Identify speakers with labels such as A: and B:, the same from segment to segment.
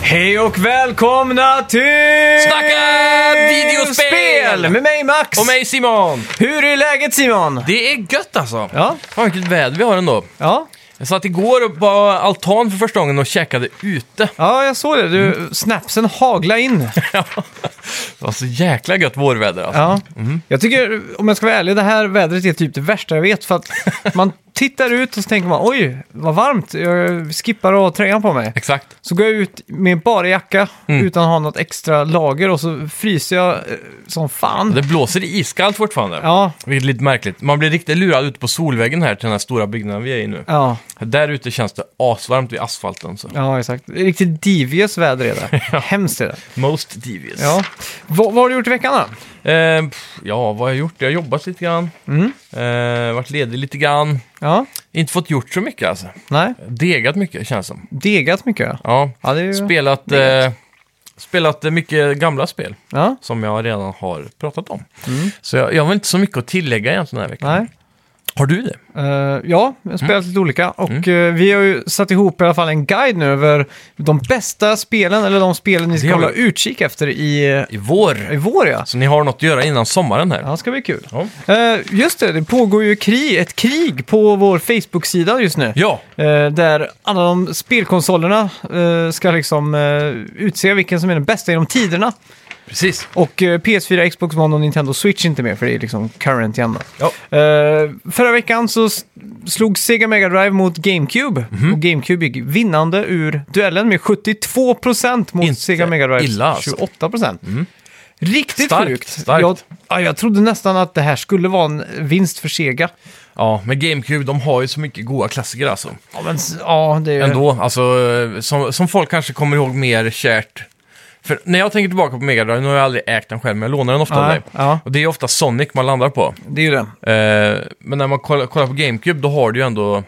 A: Hej och välkomna till...
B: Snacka videospel!
A: Med mig Max!
B: Och mig Simon!
A: Hur är läget Simon?
B: Det är gött alltså!
A: Ja,
B: Fan vilket väder vi har ändå.
A: ja.
B: Jag satt igår på altan för första gången och käkade ute.
A: Ja, jag såg det. Du,
B: Mm.
A: snapsen hagla in.
B: Det var så jäkla gött vårväder alltså.
A: Ja. Jag tycker, om jag ska vara ärlig, det här vädret är typ det värsta jag vet. För att man tittar ut och så tänker man oj, vad varmt. Jag skippar att ha tröjan på mig.
B: Exakt.
A: Så går jag ut med bara jacka
B: Mm.
A: utan att ha något extra lager och så fryser jag eh, som fan.
B: Det blåser iskallt fortfarande.
A: Ja,
B: Vilket är lite märkligt. Man blir riktigt lurad ute på Solvägen här till den här stora byggnaden vi är i nu.
A: ja,
B: Där ute känns det asvarmt vid asfalten. Så.
A: ja exakt. Det är Riktigt devious väder är det. Hemskt är det.
B: Most devious.
A: Ja. Vad, vad har du gjort i veckan då?
B: Eh, pff, ja, vad har jag gjort? Jag har jobbat lite grann.
A: Mm.
B: Eh, varit ledig lite grann.
A: Ja,
B: Inte fått gjort så mycket alltså.
A: nej.
B: Degat mycket känns som.
A: Degat mycket ja.
B: Ja,
A: Ja, det är ju...
B: spelat, eh, spelat eh, mycket gamla spel
A: Ja,
B: som jag redan har pratat om. Så jag, jag har inte så mycket att tillägga egentligen den här veckan.
A: Mm. nej.
B: Har du det?
A: Eh, ja, jag har spelat
B: Mm.
A: lite olika och eh, vi har ju satt ihop i alla fall en guide nu över de bästa spelen eller de spelen ni ska
B: Det har vi.
A: hålla utkik efter i, eh,
B: I vår.
A: i vår ja.
B: Så ni har något att göra innan sommaren här.
A: Ja, det ska bli kul.
B: Ja.
A: Eh, just det, det pågår ju krig, ett krig på vår Facebook-sida just nu.
B: Ja,
A: Eh, där alla de spelkonsolerna eh, ska liksom eh, utse vilken som är den bästa genom tiderna.
B: precis.
A: Och eh, PS4, Xbox One och Nintendo Switch inte med för det är liksom current igen. då.
B: Ja.
A: Eh, förra veckan så s- slog Sega Mega Drive mot GameCube.
B: Mhm.
A: Och GameCube gick vinnande ur duellen med 72% mot
B: Inte
A: Sega Mega Drive
B: illa, alltså.
A: 28%. Riktigt
B: Starkt,
A: sjukt.
B: starkt.
A: Jag, ja, jag trodde nästan att det här skulle vara en vinst för Sega.
B: Ja, men GameCube, de har ju så mycket goda klassiker alltså.
A: Ja, men s- ja, det är...
B: Ändå, alltså, eh, som, som folk kanske kommer ihåg mer kärt. För när jag tänker tillbaka på Mega Drive, nu har jag aldrig ägt den själv, men jag lånar den ofta av
A: Nej,
B: dig.
A: ja,
B: Och det är ofta Sonic man landar på.
A: det är ju det.
B: Eh, men när man kollar, kollar på GameCube då har du ju ändå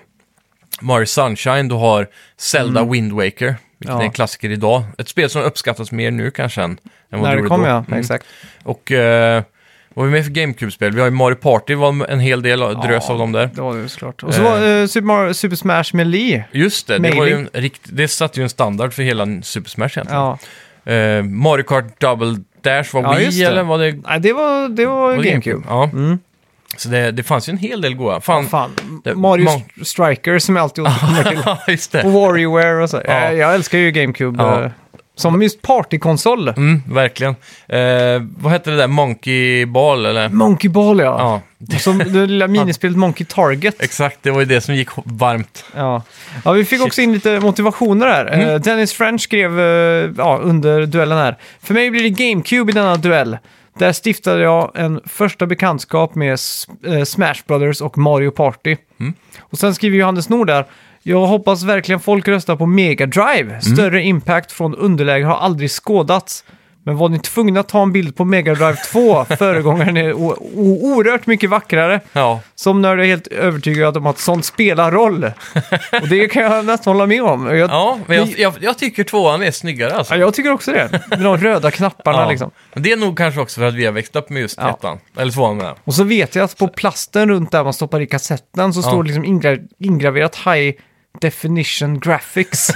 B: Mario Sunshine, du har Zelda Wind Waker, vilket
A: Mm. Ja.
B: är en klassiker idag. Ett spel som uppskattas mer nu kanske än, än vad
A: När
B: det
A: det
B: gjorde
A: kom,
B: då.
A: ja.
B: Mm.
A: Exakt.
B: Och eh, vad har vi med för GameCube-spel? Vi har ju Mario Party, var en hel del drös av dem där.
A: Det var det ju såklart. Och så var
B: Eh.
A: eh, Super, Mario, Super Smash Melee.
B: Just det, det, var ju
A: Mailing.
B: en rikt, det satte ju en standard för hela Super Smash egentligen.
A: Ja.
B: Eh, Mario Kart Double Dash var
A: Ja, just
B: Wii
A: det.
B: eller var det,
A: Nej, det var, det var,
B: var det
A: GameCube. Mm.
B: Ja. Så det, det fanns ju en hel del goa. Fan,
A: Fan,
B: Det-
A: Mario
B: mång-
A: St- Striker som jag alltid återkommer till.
B: just det.
A: Och WarioWare och så. Jag, jag älskar ju GameCube.
B: Ja.
A: eh, Som just partykonsol.
B: Mm, verkligen. Eh, vad hette det där? Monkey Ball eller?
A: Monkey Ball ja.
B: Ja,
A: Och Som det lilla minispelet Monkey Target.
B: exakt. Det var ju det som gick varmt.
A: Ja. ja, vi fick också in lite motivationer här. Eh, Dennis French skrev eh, ja, under duellen här. För mig blir det GameCube i denna duell. Där stiftade jag en första bekantskap med S- eh, Smash Brothers och Mario Party. Och sen skriver Johannes Nord där. Jag hoppas verkligen folk röstar på Mega Drive. Större impact från underläge har aldrig skådats. Men var ni tvungna att ta en bild på Mega Drive 2? Föregångaren är o- o- oerhört mycket vackrare.
B: Ja,
A: Som nörd är jag helt övertygad om att sånt spelar roll. Och det kan jag nästan hålla med om. Jag, ja.
B: ja men jag, jag, jag tycker tvåan är snyggare alltså.
A: jag tycker också det. Med de röda knapparna
B: Ja.
A: liksom.
B: Men det är nog kanske också för att vi har växt upp med just
A: Ja.
B: ettan. Eller tvåan menar jag.
A: Och så vet jag att på plasten runt där man stoppar i kassetten så står det liksom ingra- ingraverat High Definition Graphics.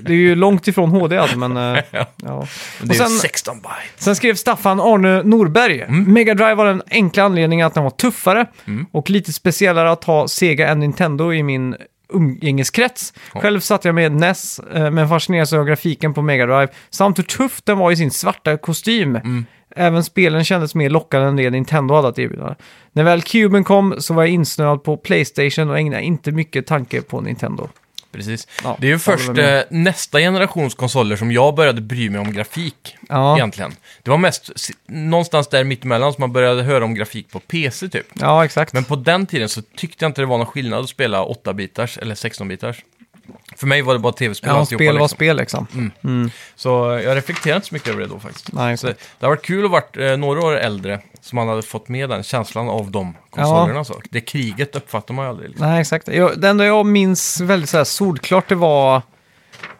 A: det är ju långt ifrån HD alltså, men... eh, Ja.
B: Men
A: Och
B: Det är
A: sen,
B: ju 16 byte.
A: sen skrev Staffan Arne Norberg.
B: Mm.
A: Mega Drive var den enkla anledningen att den var tuffare och lite speciellare att ha Sega än Nintendo i min umgängeskrets. Själv satt jag med NES, eh, men fascinerades av grafiken på Mega Drive samt hur tuff den var i sin svarta kostym.
B: Mm.
A: Även spelen kändes mer lockande än det Nintendo hade att erbjuda. När väl Cuben kom så var jag insnöad på Playstation och ägnade inte mycket tanke på Nintendo.
B: Precis.
A: Ja,
B: det är ju
A: jag håller
B: först
A: med.
B: eh, nästa generations konsoler som jag började bry mig om grafik.
A: Ja.
B: Egentligen. Det var mest si- någonstans där mittemellan som man började höra om grafik på PC typ.
A: Ja, exakt.
B: Men på den tiden så tyckte jag inte det var någon skillnad att spela 8-bitars eller 16-bitars. För mig var det bara tv-spel
A: ja,
B: alltihopa,
A: spel var
B: liksom.
A: spel liksom.
B: Så eh, jag reflekterade inte så mycket över det då faktiskt.
A: Nej,
B: så
A: exakt.
B: det har varit kul att varit eh, några år äldre som man hade fått med den känslan av de konsolerna. Så. Det kriget uppfattar man ju aldrig. Liksom.
A: Nej, exakt. Jag, det enda jag minns väldigt så här solklart det var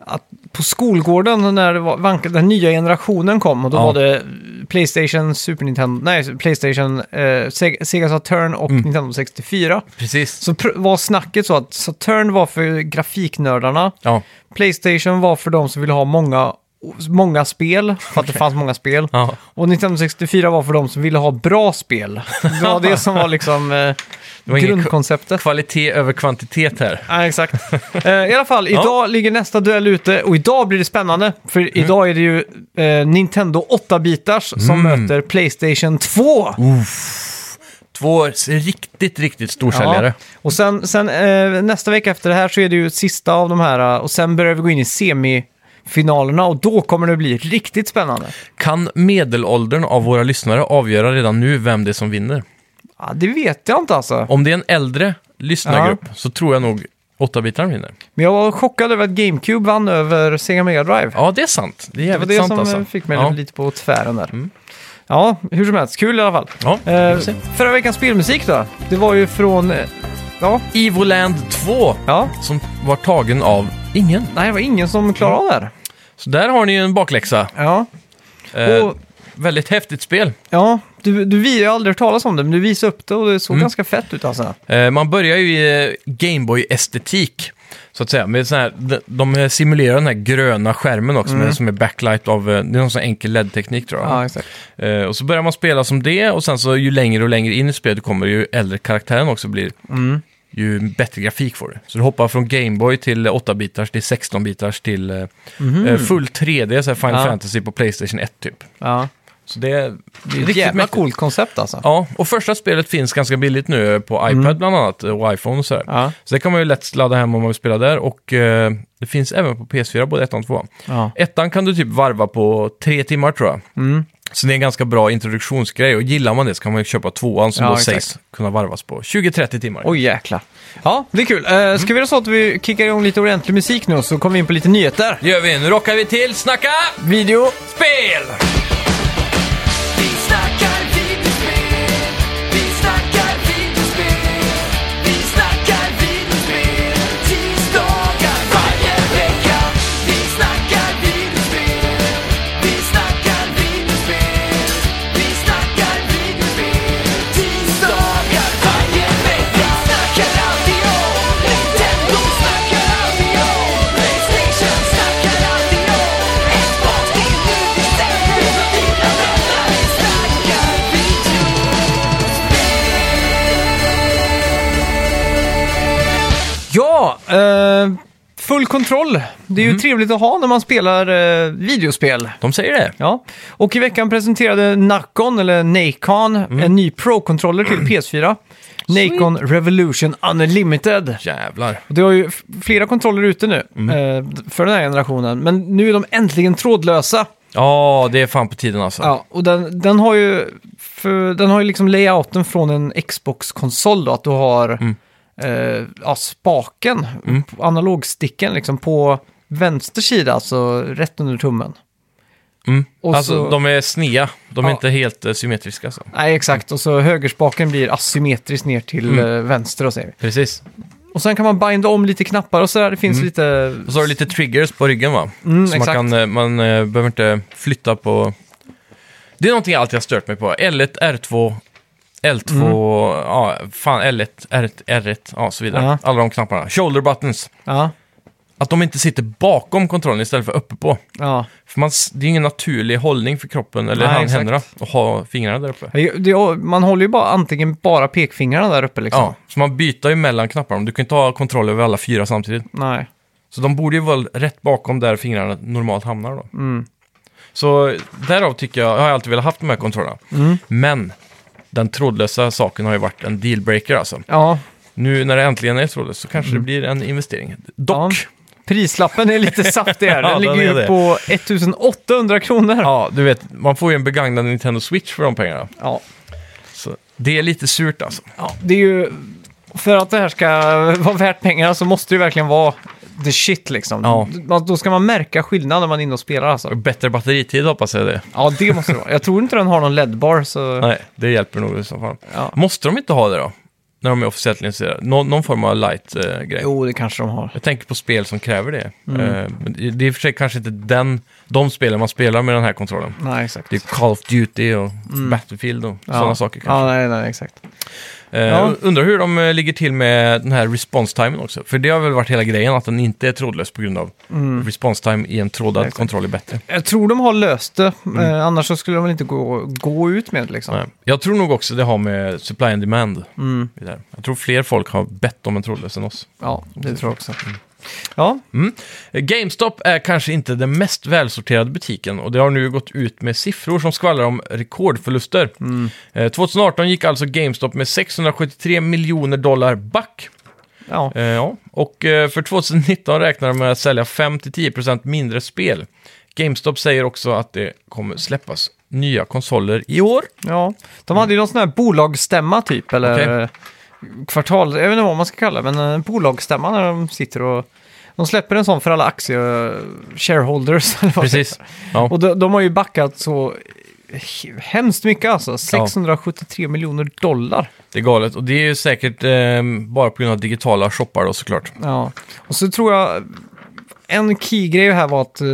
A: att på skolgården när det var, vank- den nya generationen kom och då
B: Ja.
A: var det Playstation, Super Nintendo, nej, Playstation, eh, Sega, Sega Saturn och
B: Mm.
A: Nintendo 64.
B: Precis.
A: Så pr- var snacket så att Saturn var för grafiknördarna,
B: Ja.
A: Playstation var för de som ville ha många, många spel, för att det fanns många spel.
B: Ja.
A: Och 1964 var för de som ville ha bra spel. Det var det som var liksom eh,
B: var ingen-
A: grundkonceptet.
B: Kvalitet över kvantitet här.
A: Ja, exakt. Eh, I alla fall, idag ligger nästa duell ute och idag blir det spännande. För
B: Mm.
A: idag är det ju eh, Nintendo 8-bitars som
B: Mm.
A: möter Playstation 2.
B: Oh, Två riktigt, riktigt storsäljare.
A: Och sen, sen eh, nästa vecka efter det här så är det ju sista av de här eh, och sen börjar vi gå in i semifinalerna och då kommer det bli riktigt spännande.
B: Kan medelåldern av våra lyssnare avgöra redan nu vem det är som vinner?
A: Ja, det vet jag inte alltså.
B: Om det är en äldre lyssnargrupp så tror jag nog 8-bitaren vinner.
A: Men jag var chockad över att GameCube vann över Sega Mega Drive.
B: Ja, det är sant. Det är
A: Det var
B: jävligt
A: det
B: sant
A: som
B: alltså.
A: eh, fick mig
B: ja. Mm.
A: lite på tvären där. Ja, hur som helst. Kul i alla fall.
B: Ja, vi
A: Eh,
B: får se.
A: förra veckans spelmusik då? Det var ju från... eh, Ja,
B: Evoland 2,
A: ja.
B: som var tagen av ingen.
A: Nej, det var ingen som klarade av det här.
B: Så där har ni ju en bakläxa.
A: Ja,
B: Eh,
A: och,
B: Väldigt häftigt spel.
A: ja du, du, vi- jag har aldrig hört talas om det, men du visade upp det och det såg ganska fett ut alltså.
B: Eh, man börjar ju i eh, Gameboy-estetik, så att säga. Med sån här, de, de simulerar den här gröna skärmen också, med, som är backlight av... eh, Det är någon sån enkel LED-teknik tror jag.
A: Mm. Ja, exakt.
B: Eh, och så börjar man spela som det, och sen så ju längre och längre in i spelet du kommer, ju äldre karaktären också blir,
A: Mm.
B: ju bättre grafik får du. Så du hoppar från Gameboy till 8-bitars, till 16-bitars, till eh, eh, full 3D, så här Final
A: Mhm. Ja.
B: Fantasy på Playstation 1 typ.
A: Ja.
B: Så det är,
A: Det är ett jävla
B: mäktigt.
A: coolt koncept alltså.
B: Ja, och första spelet finns ganska billigt nu eh, på iPad bland annat och iPhone och sådär.
A: Mm. Ja.
B: Så det kan man ju lätt ladda hem om man vill spela där och eh, det finns även på PS4, både ettan och tvåan.
A: Ja.
B: Ettan kan du typ varva på tre timmar tror jag.
A: Mm.
B: Så det är en ganska bra introduktionsgrej och gillar man det så kan man ju köpa tvåan som
A: Ja,
B: då
A: exakt.
B: sägs kunna varvas på 20-30 timmar.
A: Oj jäkla. Ja, det är kul. Eh, ska vi göra så att vi kickar igång lite ordentlig musik nu och så kommer vi in på lite nyheter?
B: Det gör vi, nu rockar vi till Snacka
A: Video.
B: Spel!
C: Vi snackar videospel, vi snackar videospel, vi snackar videospel, tisdagar varje vecka. Vi snackar videospel, vi snackar videospel, vi snackar videospel, tisdagar varje vecka. Vi snackar alltid om Nintendo, snackar alltid om Playstation, snackar alltid om Xbox, det är nu vi sänder. Vi snackar video.
A: Ja, eh, full kontroll. Det är ju trevligt att ha när man spelar eh, videospel.
B: De säger det.
A: Ja, och i veckan presenterade Nacon, eller Nacon,
B: Mm.
A: en ny Pro-kontroller till PS4. Nacon Revolution Unlimited.
B: Jävlar.
A: Och det har ju f- flera kontroller ute nu
B: Mm.
A: eh, för den här generationen, men nu är de äntligen trådlösa.
B: Ja, det är fan på tiden alltså.
A: Ja, och den, den har ju, för, den har ju liksom layouten från en Xbox-konsol då, att du har
B: Mm.
A: eh, ja, spaken, analogsticken liksom på vänster sida, alltså rätt under tummen.
B: Mm.
A: Och
B: alltså,
A: så-
B: de är snea. De är
A: Ja.
B: inte helt eh, symmetriska. Alltså.
A: Nej, exakt. Och så högerspaken blir asymmetrisk ner till
B: Mm.
A: eh, vänster och säger vi.
B: Precis.
A: Och sen kan man binda om lite knappar och sådär. Det
B: Mm.
A: finns lite...
B: Och så har du lite triggers på ryggen va? så man,
A: Mm, exakt.
B: kan, eh, man eh, behöver inte flytta på... Det är någonting jag alltid har stört mig på. L1, R2, L2, ja, fan L1, R1, R1, ja, så vidare.
A: Mm. Ja.
B: Alla de knapparna. Shoulder buttons.
A: Ja,
B: Att de inte sitter bakom kontrollen istället för uppe på.
A: ja.
B: För man, s- det är ingen naturlig hållning för kroppen eller
A: Nej,
B: hand-
A: exakt.
B: händerna att ha fingrarna där uppe.
A: Det, man håller ju bara antingen bara pekfingrarna där uppe liksom.
B: Ja, så man byter ju mellan knapparna. Du kan inte ha kontroll över alla fyra samtidigt.
A: Nej.
B: Så de borde ju vara rätt bakom där fingrarna normalt hamnar då.
A: Mm.
B: Så därav tycker jag, jag har jag alltid velat haft de här kontrollerna.
A: Mm.
B: Men den trådlösa saken har ju varit en dealbreaker alltså.
A: Ja.
B: Nu när det äntligen är trådlöst så kanske
A: Mm.
B: det blir en investering. Dock, ja.
A: Prislappen är lite saftig här. Den
B: Ja, den
A: ligger ju
B: är det.
A: på 1800 kronor. Ja.
B: du vet, man får ju en begagnad Nintendo Switch för de pengarna.
A: Ja.
B: Så det är lite surt alltså.
A: Det är ju... För att det här ska vara värt pengarna så måste det ju verkligen vara the shit liksom.
B: Ja.
A: Man- Då ska man märka skillnad när man är inne och spelar alltså.
B: Bättre batteritid hoppas jag det.
A: Ja, det måste det vara. Jag tror inte den har någon LED-bar så...
B: Nej, det hjälper nog i så fall.
A: Ja.
B: Måste de inte ha det då? när de är officiellt licensierade. Nå, någon form av light-grej.
A: Jo, Mm. det kanske de har.
B: jag tänker på spel som kräver det. Eh, men det det är i och för sig kanske inte den, de spelen man spelar med den här kontrollen.
A: Nej, exakt.
B: Det är Call of Duty och Battlefield och sådana saker. kanske.
A: Mm. Ja, nej, nej, exakt.
B: Eh,
A: Ja.
B: Undrar hur de eh, ligger till med den här response-timen också. För det har väl varit hela grejen, att den inte är trådlös på grund av response-time i en trådad
A: Exakt.
B: kontroll är bättre.
A: Mm. Jag tror de har löst det, eh, annars så skulle de väl inte gå, gå ut med det liksom.
B: Mm. Nej. Jag tror nog också det har med supply and demand
A: Mm.
B: det där. Jag tror fler folk har bett om en trådlös än oss.
A: Ja, det tror jag också.
B: Mm.
A: Ja,
B: Eh, GameStop är kanske inte den mest välsorterade butiken och det har nu gått ut med siffror som skvallrar om rekordförluster. Eh, 2018 gick alltså GameStop med 673 miljoner dollar back.
A: ja.
B: Eh, ja. Och eh, för 2019 räknar de med att sälja 5-10% mindre spel. GameStop säger också att det kommer släppas nya konsoler i år.
A: ja. De hade ju någon sån här bolagsstämma typ, eller
B: Okej.
A: eh, kvartal, jag vet inte vad man ska kalla det, men en bolagsstämma när de sitter och de släpper en sån för alla aktie-shareholders. eller vad det
B: Precis. Ja.
A: Och de, de har ju backat så he- hemskt mycket alltså. 673 miljoner dollar.
B: Det är galet. Och det är ju säkert eh, bara på grund av digitala shoppar då såklart.
A: Ja. Och så tror jag, en key-grej här var att eh,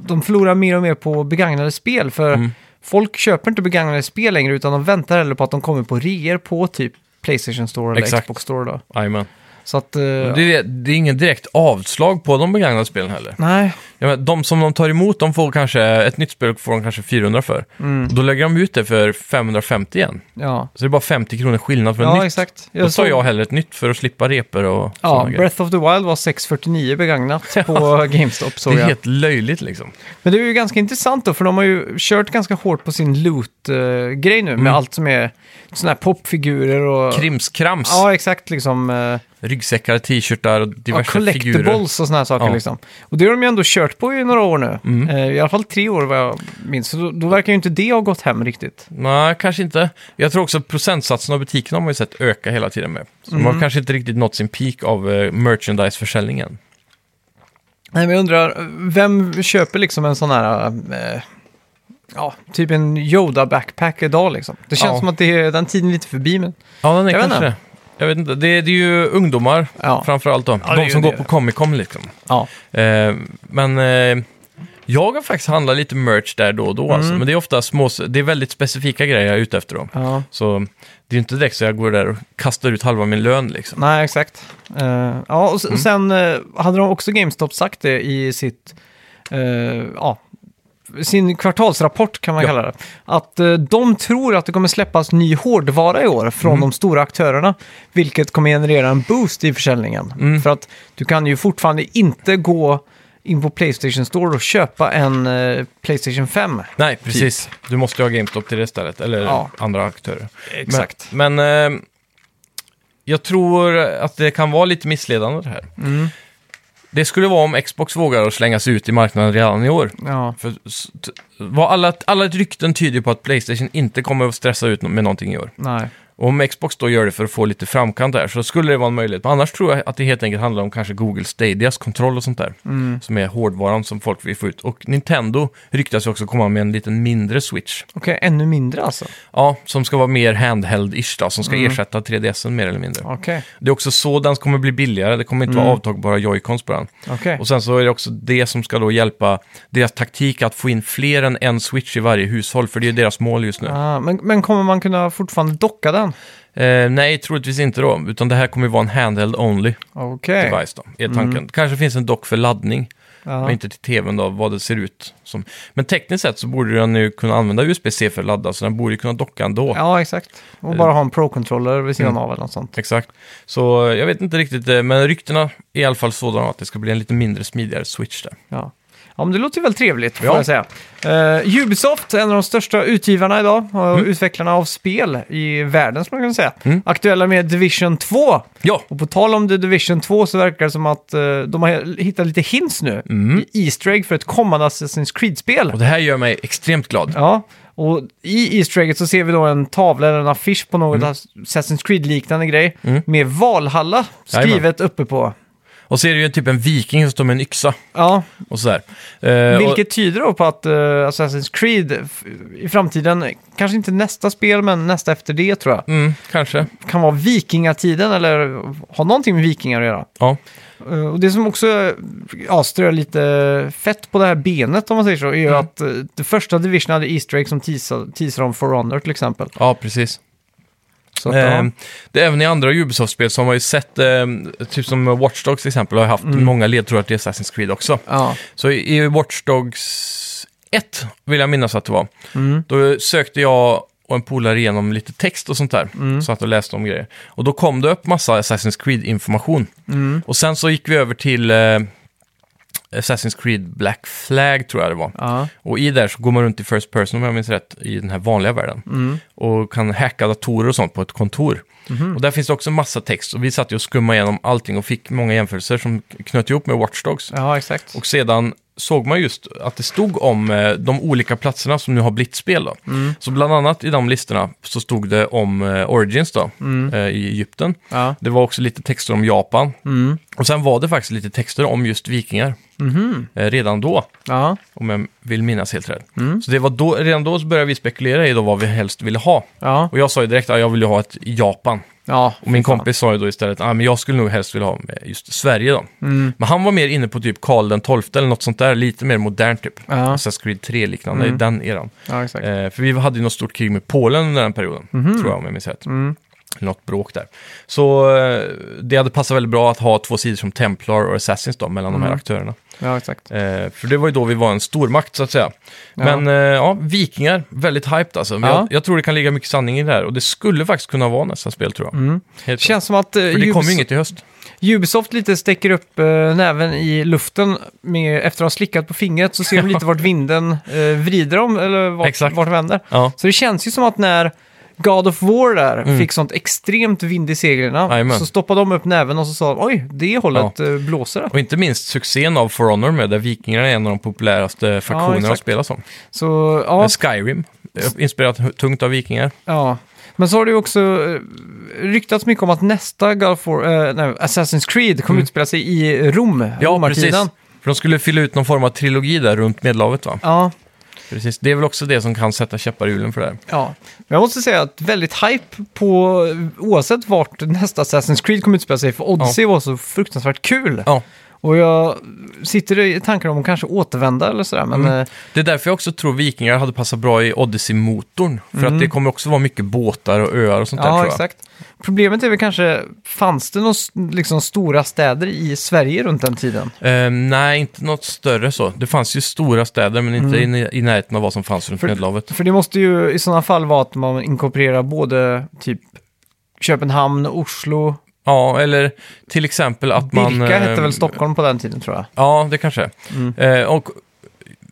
A: de förlorar mer och mer på begagnade spel. För
B: Mm.
A: folk köper inte begagnade spel längre utan de väntar hellre på att de kommer på reor på typ Playstation Store eller
B: Exakt.
A: Xbox Store. Då.
B: Jajamän.
A: Så att... eh,
B: Det, är- det är ingen direkt avslag på de begagnade spelen heller.
A: Nej,
B: Jag menar, de som de tar emot, de får kanske, ett nytt spel får de kanske 400 för.
A: Mm.
B: Då lägger de ut det för 550 igen.
A: ja.
B: Så det är bara 50 kronor skillnad för en
A: Ja,
B: nytt.
A: exakt.
B: Då tar
A: såg-
B: jag hellre ett nytt för att slippa repor och
A: Ja,
B: sådana grejer.
A: Breath of the Wild var 649 begagnat på GameStop såg
B: Det är
A: jag.
B: helt löjligt liksom.
A: Men det är ju ganska intressant då, för de har ju kört ganska hårt på sin loot-grej nu
B: Mm.
A: med allt som är sådana här popfigurer och...
B: Krimskrams,
A: Ja, exakt liksom. eh,
B: ryggsäckar, t-shirtar och
A: Ja,
B: diverse figurer.
A: collectibles och sådana här saker
B: Ja. Mm.
A: liksom. Och det har de ju ändå kört på i några år nu. Eh, I alla fall tre år vad jag minns. Så då, då verkar ju inte det ha gått hem riktigt.
B: Nej, kanske inte. Jag tror också procentsatsen av butikerna har man ju sett öka hela tiden med. Så de
A: Mm.
B: har kanske inte riktigt nått sin peak av eh, merchandise-försäljningen.
A: Nej, men jag undrar, vem köper liksom en sån här... eh, Ja, typ en Yoda-backpack idag liksom. Det känns
B: Ja.
A: som att det är, den tiden är lite förbi, men...
B: Ja, den är
A: Jag vet
B: kanske det. Jag vet inte. Det, det är ju ungdomar
A: Ja.
B: framför allt då.
A: det är
B: de
A: ju
B: som
A: det.
B: går på Comic Con liksom.
A: Ja.
B: Eh, men eh, jag har faktiskt handlat lite merch där då och då
A: Mm.
B: alltså. Men det är ofta små, det är väldigt specifika grejer jag är ute efter då.
A: ja.
B: Så det är inte direkt så jag går där och kastar ut halva min lön liksom.
A: Nej, exakt. Eh, ja, och s-
B: Mm.
A: sen eh, hade de också GameStop sagt det i sitt, eh, ja, sin kvartalsrapport kan man
B: Ja.
A: kalla det. Att eh, de tror att det kommer släppas ny hårdvara i år
B: Mm.
A: från de stora aktörerna, vilket kommer generera en boost i försäljningen.
B: Mm.
A: För att du kan ju fortfarande inte gå in på Playstation Store och köpa en eh, Playstation 5.
B: Nej, precis. Du måste ju ha GameStop till det stället, eller
A: Typ. Ja.
B: andra aktörer.
A: Exakt.
B: Men, men eh, jag tror att det kan vara lite missledande det här.
A: Mm.
B: Det skulle vara om Xbox vågar att slängas ut i marknaden redan i år.
A: Ja,
B: För s- t- vad alla, alla rykten tyder på att Playstation inte kommer att stressa ut no- med någonting i år.
A: nej.
B: Och om Xbox då gör det för att få lite framkant där så skulle det vara en möjlighet. Men annars tror jag att det helt enkelt handlar om kanske Google Stadias kontroll och sånt där. Som är hårdvaran som folk vill få ut. Och Nintendo ryktas ju också komma med en liten mindre Switch.
A: Okej, ännu mindre alltså.
B: Ja, som ska vara mer handheld-ish då, som ska ersätta 3DSen mer eller mindre.
A: Okej,
B: Det är också så den kommer bli billigare, det kommer inte vara avtagbara joycons på den.
A: okej.
B: Och sen så är det också det som ska då hjälpa deras taktik att få in fler än en switch i varje hushåll, för det är deras mål just nu.
A: Ah, men, men kommer man kunna fortfarande docka den?
B: Eh, nej, troligtvis inte då, utan det här kommer ju vara en handheld only
A: Okej.
B: device då, är tanken. Kanske finns en dock för laddning,
A: Eh. Mm. Ja.
B: men inte till tvn då, vad det ser ut som. Men tekniskt sett så borde den nu kunna använda USB-C för att ladda, så den borde ju kunna docka ändå.
A: Ja, exakt. Och bara ha en Pro-controller vid sidan av eller något sånt.
B: Exakt. Så eh, jag vet inte riktigt, eh, men ryktena är i alla fall sådana att det ska bli en lite mindre smidigare switch där.
A: Ja. ja, men det låter ju väl trevligt får
B: Ja.
A: jag säga. Eh, Ubisoft, en av de största utgivarna idag och utvecklarna av spel i världen skulle man kunna säga. Aktuella med Division 2.
B: Ja,
A: Och på tal om The Division 2 så verkar det som att eh, de har hittat lite hints nu i Easter Egg för ett kommande Assassin's Creed-spel.
B: och det här gör mig extremt glad.
A: Ja, och i Easter egget så ser vi då en tavla eller en affisch på något Assassin's Creed-liknande grej med Valhalla skrivet uppe på.
B: Och Och så är det ju typ en viking som står med en yxa
A: Ja,
B: och sådär. Eh, och-
A: vilket tyder då på att eh, Assassin's Creed f- i framtiden, kanske inte nästa spel, men nästa efter det tror jag,
B: Mm, kanske.
A: kan vara vikingatiden eller ha någonting med vikingar att göra.
B: Ja.
A: Eh, Och det som också eh, ja, strör lite fett på det här benet om man säger så, är ju
B: Mm.
A: att eh, det första Division hade Easter egg som teasar, teasar om For Honor till exempel.
B: ja, precis.
A: Så att,
B: Eh,
A: ja.
B: det är även i andra Ubisoft-spel som har man ju sett, eh, typ som Watch Dogs till exempel, har haft
A: Mm.
B: många ledtrådar till Assassin's Creed också.
A: Ja.
B: Så i i Watch Dogs 1, vill jag minnas att det var,
A: Mm.
B: då sökte jag och en polare igenom lite text och sånt där.
A: Mm.
B: Så att och läste om grejer. Och då kom det upp massa Assassin's Creed-information.
A: Mm.
B: Och sen så gick vi över till eh, Assassin's Creed Black Flag, tror jag det var.
A: Ja.
B: Och i där så går man runt i First Person, om jag minns rätt, i den här vanliga världen. Och kan hacka datorer och sånt på ett kontor. Och där finns det också massa text. Och vi satt ju och skummade igenom allting och fick många jämförelser som knöt ihop med Watch Dogs.
A: ja, exakt.
B: Och sedan såg man just att det stod om eh, de olika platserna som nu har blivit spel. Då. Så bland annat i de listorna så stod det om eh, Origins då, eh, i Egypten.
A: Ja.
B: Det var också lite texter om Japan. Och sen var det faktiskt lite texter om just vikingar. Eh, redan då,
A: Ja.
B: om jag vill minnas helt rätt. Så det var då, redan då så började vi spekulera i då vad vi helst ville ha.
A: Ja.
B: Och jag sa ju direkt att jag vill ju ha ett Japan.
A: ja.
B: Och min kompis sa ju då istället att ah, men jag skulle nog helst vilja ha med just Sverige då.
A: Mm.
B: Men han var mer inne på typ Karl den XII eller något sånt där, lite mer modernt typ.
A: Ja.
B: Assassin's Creed 3-liknande i den eran.
A: Ja, exakt.
B: Eh, för vi hade ju något stort krig med Polen under den perioden, tror jag om jag minns rätt.
A: Mm.
B: Något bråk där. Så eh, det hade passat väldigt bra att ha två sidor som Templar och Assassins då, mellan de här aktörerna.
A: Ja, exakt.
B: Eh, för det var ju då vi var en stormakt så att säga. Men eh, ja, vikingar, väldigt hyped alltså. Men
A: Ja.
B: jag, jag tror det kan ligga mycket sanning i det här och det skulle faktiskt kunna vara nästa spel tror jag. Helt klart.
A: Mm. Känns som att eh,
B: För det kommer
A: Ubis-
B: ju inget i höst.
A: Ubisoft lite sticker upp eh, näven i luften med, efter att ha slickat på fingret så ser de lite vart vinden eh, vrider om eller vart,
B: Exakt.
A: vart det vänder.
B: Ja.
A: Så det känns ju som att när God of War där fick sånt extremt vind i seglen
B: Mm. Jajamän.
A: så stoppade de upp näven och så sa de, oj, det hållet eh, blåser. det."
B: Och inte minst succén av For Honor med, där vikingarna är en av de populäraste faktionerna att
A: exakt.
B: spela som.
A: Så ja,
B: Eh, Skyrim, eh, inspirerat tungt av vikingar.
A: ja. Men så har det ju också eh, ryktats mycket om att nästa God of War, eh, nej, Assassin's Creed
B: Mm.
A: kommer utspela sig i Rom, romartiden.
B: För de skulle fylla ut någon form av trilogi där runt Medelhavet va?
A: Ja,
B: Precis. Det är väl också det som kan sätta käppar i hjulen för det här.
A: Ja, men jag måste säga att väldigt hype på oavsett vart nästa Assassin's Creed kommer utspela sig, för Odyssey var så fruktansvärt kul.
B: Ja.
A: Och jag sitter i tankar om att kanske återvända eller sådär,
B: Mm.
A: men eh,
B: Det är därför jag också tror vikingar hade passat bra i Odyssey-motorn. För att det kommer också vara mycket båtar och öar och sånt där
A: Mm. ja,
B: tror jag.
A: exakt. Problemet är väl kanske, fanns det några s- liksom, stora städer i Sverige runt den tiden?
B: Eh, nej, inte något större så. Det fanns ju stora städer men inte i, i närheten av vad som fanns runt
A: Mm. För-
B: Medelhavet.
A: För det måste ju i sådana fall vara att man inkorporerar både typ Köpenhamn, Oslo,
B: Ja, eller till exempel att man...
A: Birka hette
B: eh,
A: väl Stockholm Mm. på den tiden tror jag.
B: Ja, det kanske. Eh, och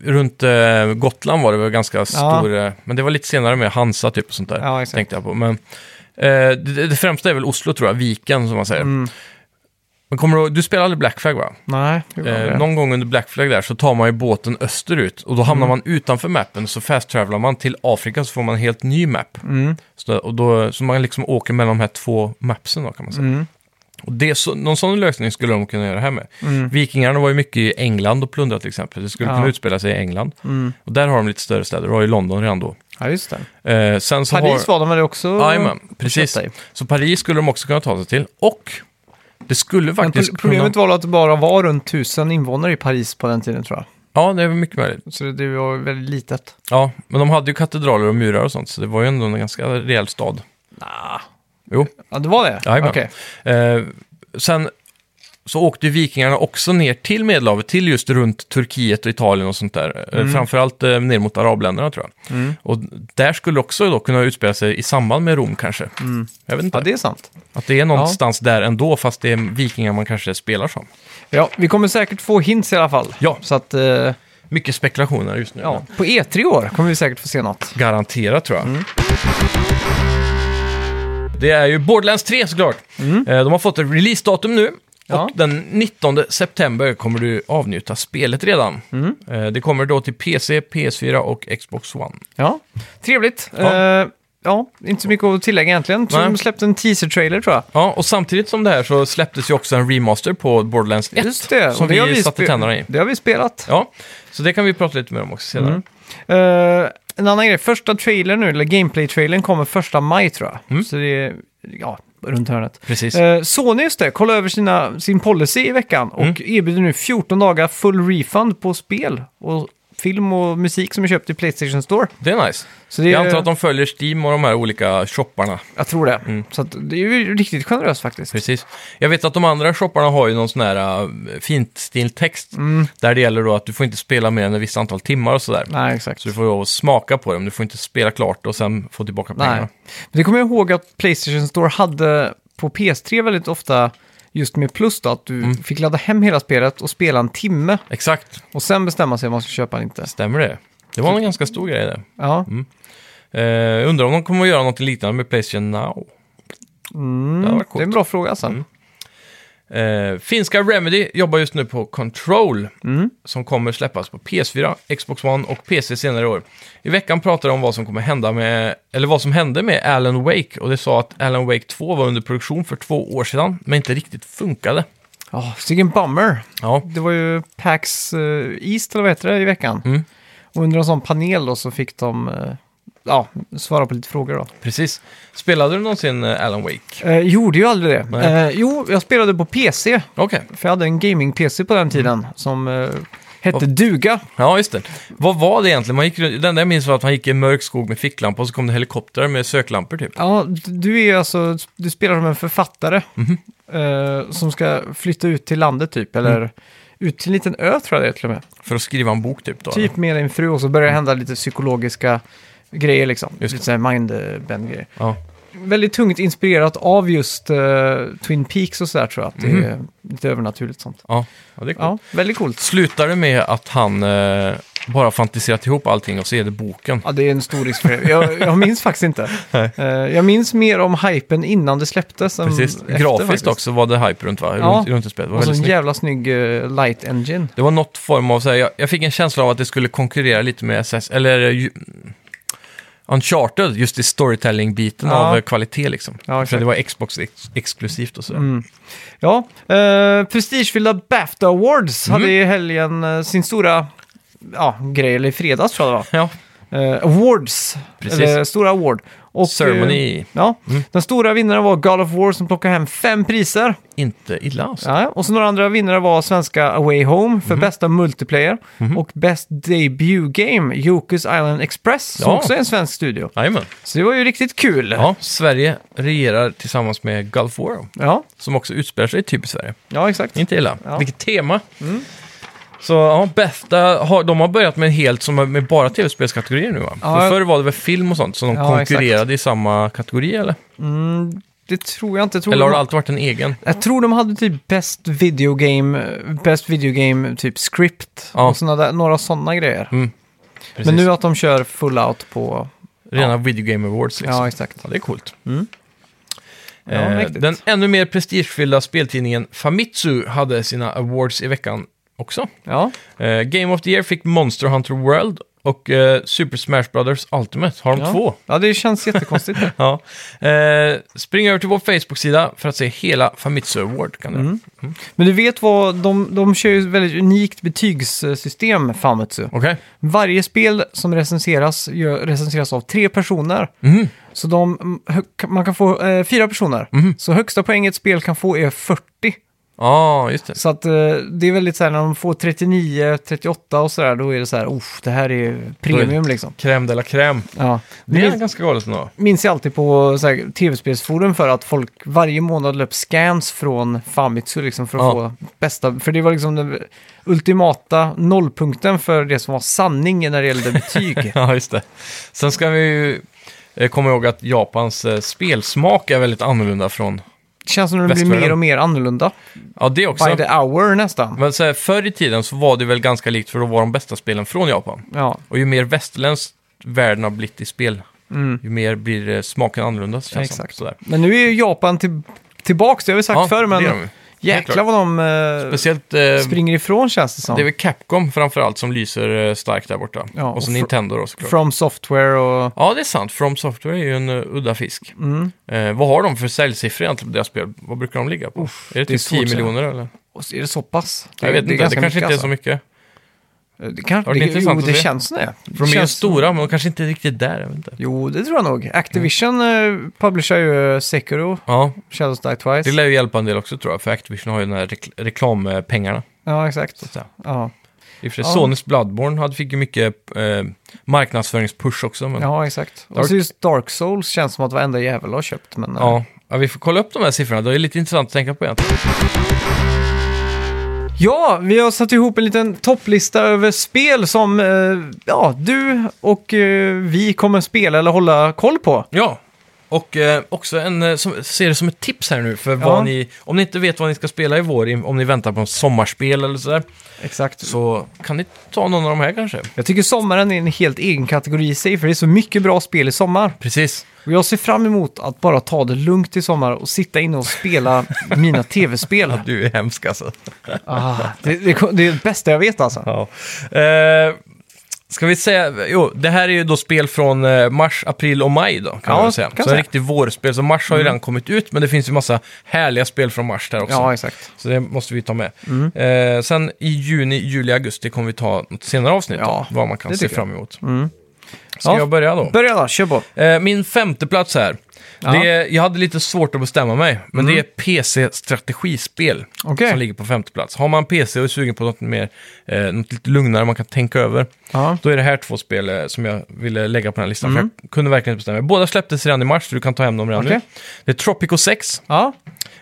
B: runt eh, Gotland var det väl ganska stor, eh, men det var lite senare med Hansa typ och sånt där.
A: Ja, exakt.
B: Tänkte jag på. Men, eh, det, det främsta är väl Oslo tror jag, viken som man säger.
A: Mm.
B: Men kommer du, du spelar aldrig Black Flag va?
A: Nej, hur var det?
B: Eh, någon gång under Black Flag där så tar man ju båten österut och då hamnar
A: Mm.
B: man utanför mappen så fast-travelar man till Afrika så får man en helt ny map.
A: Mm.
B: Så, och då, så man liksom åker mellan de här två mapsen då kan
A: Mm.
B: man säga. Och det, är så, någon sån lösning skulle de kunna göra här med.
A: Mm.
B: Vikingarna var ju mycket i England och plundrade till exempel. Det skulle
A: Ja.
B: kunna utspela sig i England. Och där har de lite större städer. Det var ju London redan då.
A: Mm. Ja, just det.
B: Eh, sen så
A: Paris
B: har...
A: var de väl också?
B: Jajamän, precis.
A: sig.
B: Så Paris skulle de också kunna ta sig till. Och det skulle
A: Men
B: faktiskt
A: pro- problemet
B: kunna...
A: var att det bara var runt tusen invånare i Paris på den tiden tror jag.
B: Ja, det är mycket möjligt.
A: Så det- det var väldigt litet.
B: Ja, men de hade ju katedraler och murar och sånt, så det var ju ändå en ganska rejäl stad. Jo.
A: Ja, det var det?
B: Jajamän.
A: Okej.
B: Eh, sen så åkte ju vikingarna också ner till Medelhavet, till just runt Turkiet och Italien och sånt där.
A: Mm.
B: Eh, framförallt eh, ner mot arabländerna tror jag. Och där skulle också då kunna utspela sig i samband med Rom kanske. Jag vet inte,
A: Mm. Ja, det är sant.
B: att det är någonstans där ändå, fast det är vikingar man kanske spelar som.
A: Ja, vi kommer säkert få hints i alla fall.
B: Ja.
A: Så att, eh,
B: Mycket spekulationer just nu.
A: ja, på E3 i år kommer vi säkert få se något.
B: Garanterat tror jag. Det är ju Borderlands 3 såklart. Eh, De har fått ett releasedatum nu.
A: Mm. Ja.
B: Och den 19 september kommer du avnjuta spelet redan.
A: Mm.
B: Eh, Det kommer då till PC, PS4 och Xbox One.
A: Ja, trevligt.
B: Ja.
A: Eh, ja, inte så mycket att tillägga egentligen. Så
B: Nej.
A: de släppte en teaser-trailer tror jag.
B: Ja, och samtidigt som det här så släpptes ju också en remaster på Borderlands 1.
A: Just det,
B: Som
A: och det har
B: vi, satte
A: spe-
B: tänderna i.
A: Det har vi spelat.
B: Ja, så det kan vi prata lite mer om också senare.
A: Mm. Eh, en annan grej, första trailern nu, eller gameplay-trailern, kommer första maj tror jag.
B: Mm.
A: Så det är, ja, runt hörnet.
B: Precis.
A: Eh, Sony, just det, kollade över sina, sin policy i veckan och
B: Mm.
A: erbjuder nu 14 dagar full refund på spel och film och musik som är köpt i Playstation Store.
B: Det är nice.
A: Så det är,
B: Jag antar att de följer Steam och de här olika shopparna.
A: jag tror det. Så att, det är ju riktigt generöst faktiskt.
B: Precis. Jag vet att de andra shopparna har ju någon sån här äh, fint stilt text. Där det gäller då att du får inte spela mer än ett visst antal timmar och sådär.
A: Mm. Nej, exakt.
B: Så du får lov att smaka på dem. Du får inte spela klart och sen få tillbaka
A: Nej.
B: pengarna.
A: Men det kommer jag ihåg att Playstation Store hade på PS3 väldigt ofta just med plus då, att
B: Mm.
A: du fick ladda hem hela spelet och spela en timme
B: Exakt,
A: och sen bestämma sig om man ska köpa eller inte.
B: stämmer det? Det var en ganska stor grej det.
A: Ja,
B: Mm. Eh, undrar om de kommer att göra något liknande med Playstation Now. Mm, det
A: det
B: hade varit
A: är en
B: coolt. Mm.
A: bra fråga alltså.
B: Eh, finska Remedy jobbar just nu på Control, som kommer släppas på PS4, Xbox One och PC senare i år. I veckan pratade de om vad som kommer hända med, eller vad som hände med Alan Wake, och det sa att Alan Wake 2 var under produktion för två år sedan, men inte riktigt funkade.
A: Ja, vilken bummer.
B: Ja,
A: Det var ju PAX eh, East, eller vad heter det, i veckan.
B: Mm.
A: Och under en sån panel då så fick de eh, ja, svara på lite frågor då.
B: precis. Spelade du någonsin eh, Alan Wake?
A: Eh, gjorde ju aldrig det.
B: Nej.
A: Eh, jo, jag spelade på PC,
B: Okej,
A: för jag hade en gaming-PC på den
B: Mm.
A: tiden som eh, hette Duga.
B: ja just det. Vad var det egentligen? Man gick, den där jag minns var att man gick i en mörk skog med ficklampa och så kom det helikoptrar med söklampor typ.
A: Ja, d- du är alltså, du spelar som en författare
B: Mhm.
A: eh, som ska flytta ut till landet typ, eller
B: Mm.
A: ut till en liten ö tror jag det är till och med.
B: För att skriva en bok typ då?
A: Typ med din fru och så börjar det hända lite psykologiska grejer liksom.
B: Just
A: lite såhär mindbend grejer.
B: Ja.
A: Väldigt tungt inspirerat av just eh, Twin Peaks och sådär tror jag, att
B: Mhm.
A: det är lite övernaturligt sånt.
B: Ja, ja det är coolt.
A: Ja, väldigt coolt.
B: Slutar det med att han eh, bara fantiserat ihop allting och så är det boken?
A: Ja, det är en stor risk för det. Jag, jag minns faktiskt inte.
B: Nej.
A: Eh, jag minns mer om hypen innan det släpptes. än
B: Precis.
A: efter
B: Grafiskt
A: faktiskt.
B: också var det hype runt, va?
A: Ja. Alltså,
B: runt, runt i spelet. Det var
A: Och så
B: väldigt
A: en
B: snyggt.
A: jävla snygg eh, light engine.
B: Det var något form av, så här, jag, jag fick en känsla av att det skulle konkurrera lite med SS, eller eh, ju, Uncharted, just i storytelling-biten
A: Ja.
B: av eh, kvalitet liksom.
A: Ja,
B: För
A: exakt. Mm.
B: det var Xbox-exklusivt och så.
A: Ja, eh, prestigefyllda Bafta Awards
B: Mhm.
A: hade i helgen eh, sin stora ja, grej, eller i fredags tror jag det var.
B: Ja,
A: Eh, awards,
B: Precis.
A: eller stora award. Och, eh,
B: Ceremony, Mm.
A: ja, den stora vinnaren var God of War som plockade hem fem priser.
B: inte illa alltså.
A: Ja, och så några andra vinnare var svenska Away Home
B: Mm-hmm.
A: för bästa multiplayer och bäst debut game, Jokus Island Express, som
B: Ja.
A: också är en svensk studio.
B: Jajamän.
A: Så det var ju riktigt kul.
B: Ja, Sverige regerar tillsammans med Gulf War,
A: ja,
B: som också utspelar sig typ i Sverige.
A: ja exakt.
B: Inte illa.
A: Ja.
B: Vilket tema. Så ja, Bethesda har, de har börjat med en helt som med bara tv-spelskategorier nu va?
A: Ja.
B: För förr var det väl film och sånt, så de
A: Ja,
B: konkurrerade i samma kategori eller?
A: Det tror jag inte. Jag tror
B: Eller har
A: de-
B: det alltid varit en egen?
A: Jag tror de hade typ bäst videogame, bäst videogame typ script
B: Ja. Mm,
A: och såna där, några sådana grejer.
B: Precis.
A: Men nu att de kör full out på...
B: Rena Video Game Awards liksom.
A: Ja,
B: Ja,
A: exakt.
B: det är coolt.
A: Ja,
B: eh,
A: mäktigt.
B: den ännu mer prestigefyllda speltidningen Famitsu hade sina awards i veckan också.
A: Ja,
B: Eh, Game of the Year fick Monster Hunter World och eh, Super Smash Brothers Ultimate. Har de
A: ja.
B: två?
A: Ja, det känns jättekonstigt.
B: Ja. Eh, spring över till vår Facebook-sida för att se hela Famitsu Award. Kan du.
A: Mm. Men du vet vad, de, de kör ju ett väldigt unikt betygssystem, Famitsu.
B: Okej.
A: Varje spel som recenseras gör, recenseras av tre personer.
B: Mhm.
A: Så de, mm, hö- man kan få eh, fyra personer. Så högsta poäng ett spel kan få är 40.
B: Ja, just det.
A: Så att eh, det är väldigt så här när de får 39, 38 och sådär, då är det så här, "Uff, det här är premium liksom.
B: Crème de la crème.
A: Ja.
B: Det är
A: Det minns,
B: ganska galet ändå.
A: minns jag alltid på så här, tv-spelsforum för att folk varje månad löp scans från Famitsu liksom för att
B: Ja.
A: få bästa, för det var liksom den ultimata nollpunkten för det som var sanning när det gällde betyg.
B: Ja, just det. Sen ska vi ju eh, komma ihåg att Japans eh, spelsmak är väldigt annorlunda från...
A: Det känns som att den blir
B: Västvärlden.
A: mer och mer annorlunda.
B: Ja, det
A: By
B: också.
A: the hour nästan.
B: Men så här, förr i tiden så var det väl ganska likt för då var de bästa spelen från Japan.
A: Ja,
B: Och ju mer västerländskt världen har blivit i spel,
A: mm.
B: ju mer blir eh, smaken annorlunda. Känns
A: exakt.
B: Sådär.
A: Men nu är ju Japan till, tillbaks, det har vi sagt
B: Ja,
A: förr,
B: det är de ju.
A: men Jäklar
B: klart.
A: vad de eh,
B: Speciellt, eh, det
A: springer ifrån känns det som.
B: är väl Capcom framförallt som lyser eh, starkt där borta.
A: Ja,
B: och så
A: och fr-
B: Nintendo då såklart.
A: From Software och... mm.
B: Ja, det är sant. From Software är ju en uh, udda fisk. Eh, vad har de för säljsiffror egentligen på deras spel? Vad brukar de ligga på? är det
A: det är
B: typ 10
A: svårt att säga.
B: miljoner eller?
A: och så är det så pass? Det,
B: jag vet
A: är
B: inte, det
A: ganska
B: kanske inte är
A: mycket,
B: så mycket.
A: alltså. Det,
B: Ja,
A: kan,
B: det är
A: det,
B: intressant
A: jo,
B: att
A: det
B: se.
A: känns som det.
B: För de är ju
A: Känns som-
B: stora, men de kanske inte är riktigt där. Jag vet inte.
A: Jo, det tror jag nog. Activision eh, publicerar ju Sekiro,
B: Ja,
A: Shadows Die Twice.
B: det lär ju hjälpa en del också tror jag, för Activision har ju de här rekl- reklampengarna.
A: Ja, exakt.
B: Så att säga.
A: Ja,
B: I och för sig,
A: Ja.
B: Sonys Bloodborne hade, fick ju mycket eh, marknadsföringspush också. Men, ja.
A: ja exakt. Och
B: Dark-
A: så just Dark Souls känns som att varenda jävel har köpt, men... eh,
B: Ja. vi får kolla upp de här siffrorna. Det är lite intressant att tänka på egentligen.
A: Ja, vi har satt ihop en liten topplista över spel som eh, ja, du och eh, vi kommer spela eller hålla koll på.
B: Ja, och eh, också en, eh, som, ser det som ett tips här nu för
A: Ja.
B: vad ni, om ni inte vet vad ni ska spela i vår, i- om ni väntar på en sommarspel eller sådär,
A: Exakt.
B: så kan ni ta någon av de här kanske.
A: Jag tycker sommaren är en helt egen kategori i sig, för det är så mycket bra spel i sommar.
B: Precis.
A: Och jag ser fram emot att bara ta det lugnt i sommar och sitta inne och spela mina tv-spel.
B: Du är hemsk alltså.
A: Ah, det, det, det är det bästa jag vet alltså.
B: Ja. Eh, ska vi säga, jo, det här är ju då spel från eh, mars, april och maj då, kan
A: Ja,
B: man väl säga.
A: kan
B: så
A: säga. Mm.
B: en riktig vårspel, så mars har ju redan kommit ut, men det finns ju massa härliga spel från mars där också.
A: Ja, exakt.
B: Så det måste vi ta med.
A: Mm.
B: Eh, sen i juni, juli, augusti kommer vi ta något senare avsnitt
A: Ja,
B: då, vad man kan
A: det
B: se
A: tycker jag. Mm.
B: fram emot. Ska
A: Ja.
B: jag börja då?
A: Börja då, kör på.
B: Eh, min femte plats här.
A: Ja. Mm.
B: Det är, jag hade lite svårt att bestämma mig, men det är PC-strategispel
A: Okej.
B: som ligger på femte plats. Har man PC och är sugen på något, mer, eh, något lite lugnare man kan tänka över,
A: Ja.
B: då är det här två spel eh, som jag ville lägga på den här listan, för jag kunde verkligen inte bestämma mig. Båda släpptes redan i mars, så du kan ta hem dem redan
A: Mm. Okej.
B: nu. Det är Tropico 6
A: Ja,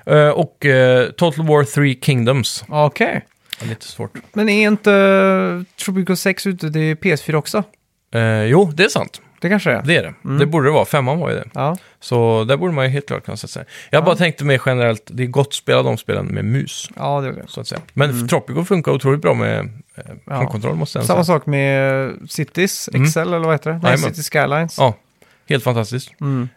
B: eh, och eh, Total War 3 Kingdoms.
A: okej.
B: Det är Lite svårt.
A: Men är inte eh, Tropico 6 ute till PS4 också?
B: Eh, jo, det är sant.
A: Det kanske det är?
B: Det är det. Det borde det vara. Femman var ju det.
A: Ja.
B: Så där borde man ju helt klart kunna sätta sig. Jag bara tänkte mer generellt, det är gott att spela de spelen med mus.
A: ja, det är det.
B: så att säga. Men Tropico funkar otroligt bra med eh, handkontroll måste jag
A: Mm. Samma
B: säga.
A: sak med eh, Cities, Excel eller vad heter det? Nej,
B: Jajamän.
A: Cities Skylines. Mm.
B: Ja, helt fantastiskt.